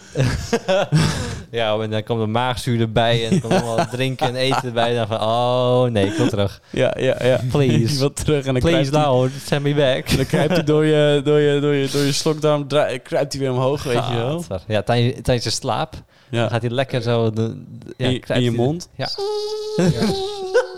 Speaker 2: Ja, en dan komt de maagzuur erbij en dan komt allemaal drinken en eten erbij. En dan van, oh nee, ik wil terug.
Speaker 4: Ja, ja, ja.
Speaker 2: Please.
Speaker 4: Die wil terug en dan
Speaker 2: Please nou.
Speaker 4: kruipt hij,
Speaker 2: now, send me back.
Speaker 4: dan kruipt hij door je, door je, door je, door je slokdarm, dra- kruipt hij weer omhoog, weet je wel.
Speaker 2: Gadver. Ja, tijdens tijdens je slaap
Speaker 4: Ja.
Speaker 2: gaat hij lekker zo... De, de- ja,
Speaker 4: In, je- in
Speaker 2: krijgt
Speaker 4: je
Speaker 2: hij-
Speaker 4: mond.
Speaker 2: Ja.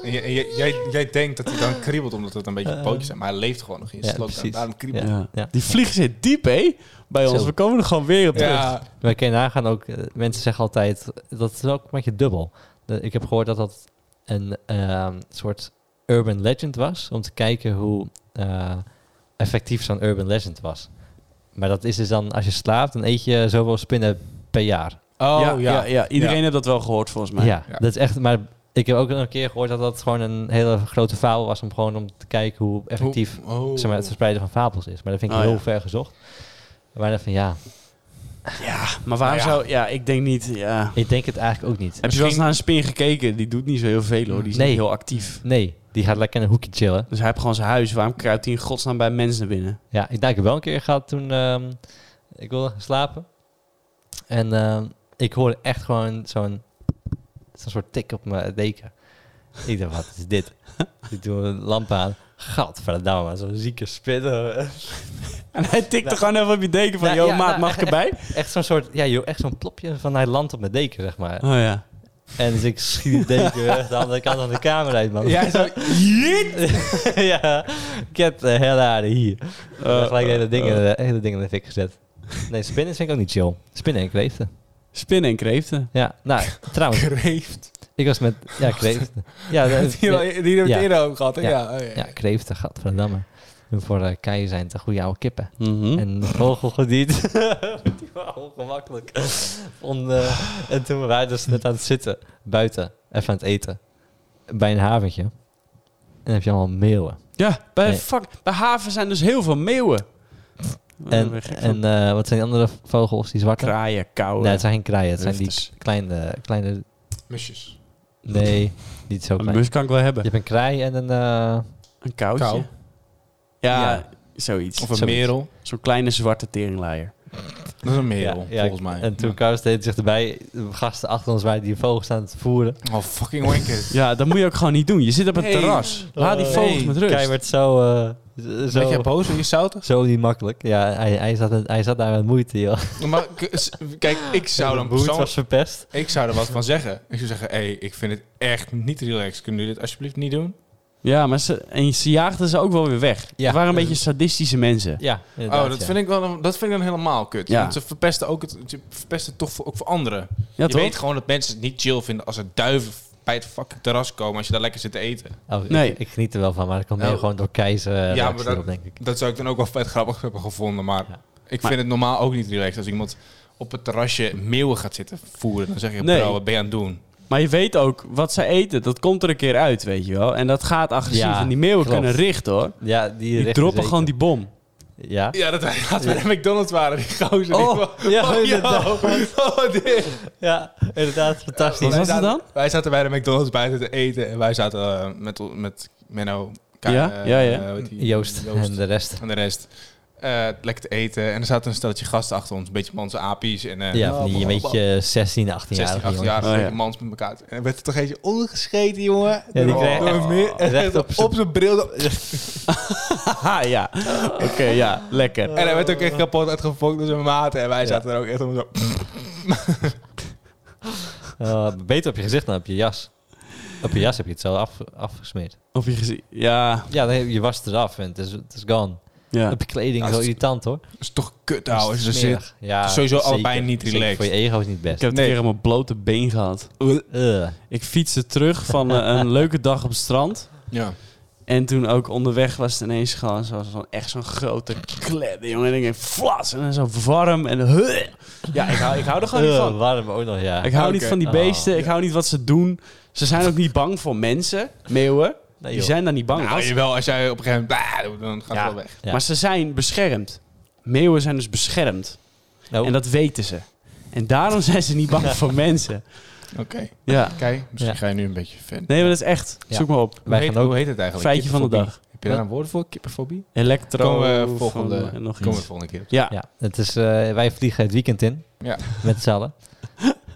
Speaker 3: En j- en j- jij, jij denkt dat hij dan kriebelt omdat het een beetje pootjes zijn. Maar hij leeft gewoon nog in je
Speaker 2: Eh. Ja,
Speaker 3: slok.
Speaker 2: precies.
Speaker 3: Daarom kriebelt
Speaker 4: Ja.
Speaker 2: Ja.
Speaker 4: Die vlieg zit diep, hé, bij ons.
Speaker 2: Zo.
Speaker 4: We komen er gewoon weer op
Speaker 3: hij.
Speaker 4: terug.
Speaker 2: Maar kun je nagaan ook, eh, mensen zeggen altijd, dat is ook een beetje dubbel. De- ik heb gehoord dat dat een ehm, soort urban legend was, om te kijken hoe eh, effectief zo'n urban legend was. Maar dat is dus dan, als je slaapt, dan eet je zoveel spinnen per jaar.
Speaker 3: Oh,
Speaker 4: ja, ja, ja. Iedereen heeft dat wel gehoord, volgens mij.
Speaker 2: ja,
Speaker 3: Ja.
Speaker 2: dat is echt, maar ik heb ook nog een keer gehoord dat dat gewoon een hele grote fabel was om gewoon om te kijken hoe effectief
Speaker 3: Oh.
Speaker 2: zeg maar, het verspreiden van fabels is. Maar dat vind ik
Speaker 4: Oh,
Speaker 2: heel
Speaker 4: ja.
Speaker 2: ver gezocht. Maar dan van ja,
Speaker 4: Ja, maar waarom
Speaker 3: Nou ja.
Speaker 4: zou... Ja, ik denk niet... Ja.
Speaker 2: ik denk het eigenlijk ook niet.
Speaker 4: Heb je wel eens naar een spin gekeken? Die doet niet zo heel veel, hoor. Die is
Speaker 2: Nee.
Speaker 4: niet heel actief.
Speaker 2: Nee, die gaat lekker in een hoekje chillen.
Speaker 4: Dus hij heeft gewoon zijn huis. Waarom kruipt hij in godsnaam bij mensen naar binnen?
Speaker 2: Ja, ik, nou, ik heb wel een keer gehad toen ehm, ik wilde gaan slapen. En ehm, ik hoorde echt gewoon zo'n zo'n soort tik op mijn deken. Ik dacht, wat is dit? Ik doe een lamp aan. Gadverdamme, zo'n zieke spitter.
Speaker 4: En hij tikte
Speaker 3: Nou.
Speaker 4: gewoon even op je deken van,
Speaker 2: Ja,
Speaker 4: yo
Speaker 2: ja,
Speaker 4: maat,
Speaker 2: nou,
Speaker 4: mag ik erbij?
Speaker 2: Echt zo'n soort, ja joh, echt zo'n plopje van hij landt op mijn deken, zeg maar.
Speaker 4: Oh ja.
Speaker 2: En dus ik schiet de deken weg de andere kant aan de kamer uit, man.
Speaker 3: Ja, zo, jeet!
Speaker 2: ja, get the hell out of here.
Speaker 3: Oh,
Speaker 4: Eh,
Speaker 2: gelijk de hele,
Speaker 4: eh,
Speaker 2: ding in
Speaker 4: eh.
Speaker 2: de, hele ding in de fik gezet. Nee, spinnen vind ik ook niet chill. Spinnen en kreeften.
Speaker 4: Spinnen en kreeften.
Speaker 2: Ja, nou, trouwens,
Speaker 3: Kreeft.
Speaker 2: ik was met... Ja, kreeften. Ja, dat-
Speaker 3: Die
Speaker 2: ja,
Speaker 3: hebben we het
Speaker 2: Ja.
Speaker 3: eerder over gehad, hè?
Speaker 2: Ja.
Speaker 3: Ja. oh ja.
Speaker 2: ja, kreeften, gadverdamme. En Voor eh, keien zijn het de goede oude kippen.
Speaker 3: Hm?
Speaker 4: Mhm.
Speaker 2: En de vogel gediend. Die waren ongemakkelijk. On, eh, en toen waren we dus net aan het zitten, buiten, even aan het eten. Bij een haventje. En dan heb je allemaal meeuwen.
Speaker 4: Ja, bij,
Speaker 2: Nee.
Speaker 4: fuck, bij haven zijn dus heel veel meeuwen. Daar ben
Speaker 2: En,
Speaker 4: ik gek van.
Speaker 2: en eh, wat zijn die andere vogels, die zwarte?
Speaker 4: kraaien, kouwen.
Speaker 2: Nee, het zijn geen kraaien. Het zijn die
Speaker 4: Rufters.
Speaker 2: kleine, kleine...
Speaker 3: Musjes.
Speaker 2: Nee, niet zo
Speaker 4: Een
Speaker 2: klein.
Speaker 4: Oh, bus kan ik wel hebben.
Speaker 2: Je hebt een kraai en een... eh,
Speaker 4: Een koutje.
Speaker 3: Kou.
Speaker 4: Ja,
Speaker 2: Ja.
Speaker 4: zoiets.
Speaker 3: Of een
Speaker 4: Zoiets.
Speaker 3: merel.
Speaker 4: Zo'n kleine zwarte teringlaaier.
Speaker 3: Dat is een merel, volgens mij.
Speaker 2: En toen
Speaker 3: Ja.
Speaker 2: Kous deed zich erbij, de gasten achter ons waren die vogels aan het voeren.
Speaker 3: Oh, fucking wankers.
Speaker 4: Ja, dat moet je ook gewoon niet doen. Je zit op het
Speaker 3: Nee.
Speaker 4: terras. Laat Ah, die
Speaker 2: Oh,
Speaker 4: vogels
Speaker 3: nee.
Speaker 4: met rust.
Speaker 2: Kei werd zo... eh, z-
Speaker 3: Ben jij
Speaker 2: zo,
Speaker 3: boos? Wil je zoutig?
Speaker 2: zo niet makkelijk. Ja, hij, hij, zat, hij zat daar met moeite, joh.
Speaker 3: Maar k- s- kijk, ik zou dan
Speaker 2: Zijn boert
Speaker 3: persoonlijk...
Speaker 2: was verpest.
Speaker 3: Ik zou er wat van zeggen. Ik zou zeggen, hé, hey, ik vind het echt niet relaxed. Kunnen jullie dit alsjeblieft niet doen?
Speaker 4: Ja, maar ze, en ze jaagden ze ook wel weer weg.
Speaker 2: Ja.
Speaker 4: Het waren een beetje sadistische mensen.
Speaker 2: Ja,
Speaker 3: oh, dat, vind ik wel, een- dat vind ik dan helemaal kut.
Speaker 4: Ja.
Speaker 3: Want ze verpesten, ook het, ze verpesten toch voor, ook voor anderen.
Speaker 4: Ja,
Speaker 3: je
Speaker 4: toch?
Speaker 3: weet gewoon dat mensen het niet chill vinden als er duiven bij het fucking terras komen als je daar lekker zit te eten.
Speaker 2: nee.
Speaker 4: Nee.
Speaker 2: Oh, Ik, ik geniet er wel van, maar dat komt meer
Speaker 3: Oh.
Speaker 2: gewoon door keizer.
Speaker 3: Ja,
Speaker 2: Ja,
Speaker 3: maar dat-
Speaker 2: denk ik.
Speaker 3: Dat zou ik dan ook wel vet grappig hebben gevonden, maar
Speaker 2: Ja.
Speaker 3: ik
Speaker 4: Maar-
Speaker 3: vind het normaal ook niet relaxed als iemand op het terrasje meeuwen gaat zitten voeren. Dan zeg je,
Speaker 4: Nee.
Speaker 3: bro, wat ben je aan het doen?
Speaker 4: Maar je weet ook, wat ze eten, dat komt er een keer uit, weet je wel. En dat gaat agressief.
Speaker 2: Ja,
Speaker 4: en die meeuwen
Speaker 2: klopt.
Speaker 4: kunnen richten, hoor.
Speaker 2: Ja, die,
Speaker 4: Die
Speaker 2: richten
Speaker 4: droppen
Speaker 2: zeker.
Speaker 4: gewoon die bom.
Speaker 2: Ja.
Speaker 3: Ja, dat wij laatst bij de McDonald's waren, die gozer.
Speaker 2: Oh,
Speaker 3: die,
Speaker 2: ja,
Speaker 3: oh, yo.
Speaker 2: inderdaad.
Speaker 3: Oh, dit.
Speaker 2: Ja, inderdaad, fantastisch.
Speaker 4: Wat was
Speaker 3: Wij
Speaker 4: het
Speaker 3: zaten-
Speaker 4: dan?
Speaker 3: Wij zaten bij de McDonald's buiten te eten en wij zaten eh, met, met Menno, Ka-
Speaker 4: Ja,
Speaker 3: eh,
Speaker 4: ja, ja.
Speaker 3: eh, weet die-
Speaker 2: Joost, en de rest.
Speaker 3: en de rest. eh, lekker te eten. En er zaten een steltje gasten achter ons, een beetje manse apies. En, eh,
Speaker 2: Ja, van die een beetje 16,
Speaker 3: 16,
Speaker 2: 18-jarige
Speaker 3: 18
Speaker 2: jongen.
Speaker 3: jaar
Speaker 4: Oh, ja.
Speaker 3: mans met elkaar. En er werd er toch eentje ondergescheten, jongen.
Speaker 2: Ja, die kreeg
Speaker 3: Door
Speaker 2: echt-
Speaker 3: een meer-
Speaker 2: recht op z'n-
Speaker 3: op zijn bril.
Speaker 4: Haha, ja. Oké, ja. Lekker.
Speaker 3: En hij werd ook echt kapot uitgefokt door zijn maten. En wij zaten er ook echt om zo...
Speaker 2: Eh, beter op je gezicht dan op je jas. Op je jas heb je het zo af, afgesmeerd.
Speaker 4: Of je gezien... Ja,
Speaker 2: Ja, dan heb je was het eraf en het is, het is gone.
Speaker 4: ja.
Speaker 2: Op je kleding
Speaker 3: Ja,
Speaker 2: zo
Speaker 3: het is-
Speaker 2: irritant hoor.
Speaker 3: Dat is toch kut, ouwe. Ze zit...
Speaker 2: Smerig. Ja,
Speaker 3: sowieso allebei niet
Speaker 2: Zeker
Speaker 3: relaxed.
Speaker 2: Voor je ego is niet
Speaker 4: Ik
Speaker 2: best.
Speaker 4: heb het
Speaker 3: Nee.
Speaker 4: een keer op mijn blote been gehad.
Speaker 2: Eh,
Speaker 4: Ik fietste terug van eh, een leuke dag op het strand.
Speaker 3: Ja. Nou,
Speaker 4: En toen ook onderweg was het ineens gewoon zo, zo- echt zo'n grote klep, jongen. En ik denk, flas, en dan zo warm en... huh. Ja, ik hou, ik hou er gewoon niet
Speaker 2: eh,
Speaker 4: van.
Speaker 2: warm ook nog, ja.
Speaker 4: Ik hou
Speaker 3: Oké.
Speaker 4: niet van die beesten, ik hou niet wat ze doen. Ze zijn ook niet bang voor mensen, meeuwen.
Speaker 2: Nee,
Speaker 4: Die
Speaker 2: joh.
Speaker 4: zijn daar niet bang
Speaker 3: Nou,
Speaker 4: voor.
Speaker 3: jawel, als jij op een gegeven moment... blah, dan gaat
Speaker 4: Ja.
Speaker 3: het wel weg.
Speaker 2: Ja.
Speaker 4: Maar ze zijn beschermd. Meeuwen zijn dus beschermd.
Speaker 2: Nou,
Speaker 4: En dat weten ze. En daarom zijn ze niet bang voor mensen.
Speaker 3: Oké.
Speaker 4: Ja.
Speaker 3: Kijk, misschien
Speaker 2: Ja.
Speaker 3: ga je nu een beetje fan.
Speaker 4: Nee, maar dat is echt.
Speaker 2: Ja.
Speaker 4: Zoek maar op.
Speaker 2: wij
Speaker 3: hoe, heet,
Speaker 2: gaan ook
Speaker 3: hoe heet het eigenlijk?
Speaker 4: Feitje van de dag.
Speaker 3: Heb je daar een woord voor? Kippenfobie?
Speaker 4: Elektro.
Speaker 3: Komen we
Speaker 4: van-
Speaker 3: volgende,
Speaker 4: en nog
Speaker 3: komen we
Speaker 4: iets.
Speaker 3: volgende keer. op.
Speaker 4: Ja.
Speaker 2: Ja, het is, eh, wij vliegen het weekend in.
Speaker 3: Ja.
Speaker 2: Met z'n allen.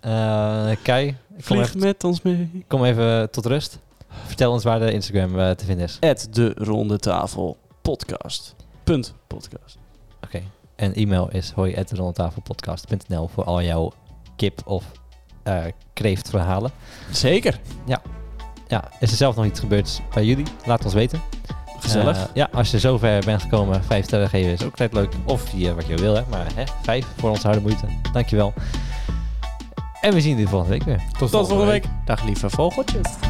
Speaker 2: Eh, Kai, kom
Speaker 4: Vlieg
Speaker 2: even,
Speaker 4: met ons mee.
Speaker 2: kom even tot rust. Vertel ons waar de Instagram eh, te vinden is.
Speaker 4: At de ronde tafel podcast. Punt podcast.
Speaker 2: Oké. En e-mail is hoi.rondetafelpodcast.nl voor al jouw kip- of eh, kreeftverhalen.
Speaker 4: Zeker.
Speaker 2: Ja, is er zelf nog iets gebeurd bij jullie? Laat ons weten.
Speaker 4: Gezellig.
Speaker 2: Eh, ja, als je zover bent gekomen, vijf sterren geven is ook altijd leuk. Of vier, wat je wil, hè. Maar hè, vijf voor onze harde moeite. Dankjewel. En we zien jullie volgende week weer.
Speaker 4: Tot volgende week. Dag lieve vogeltjes.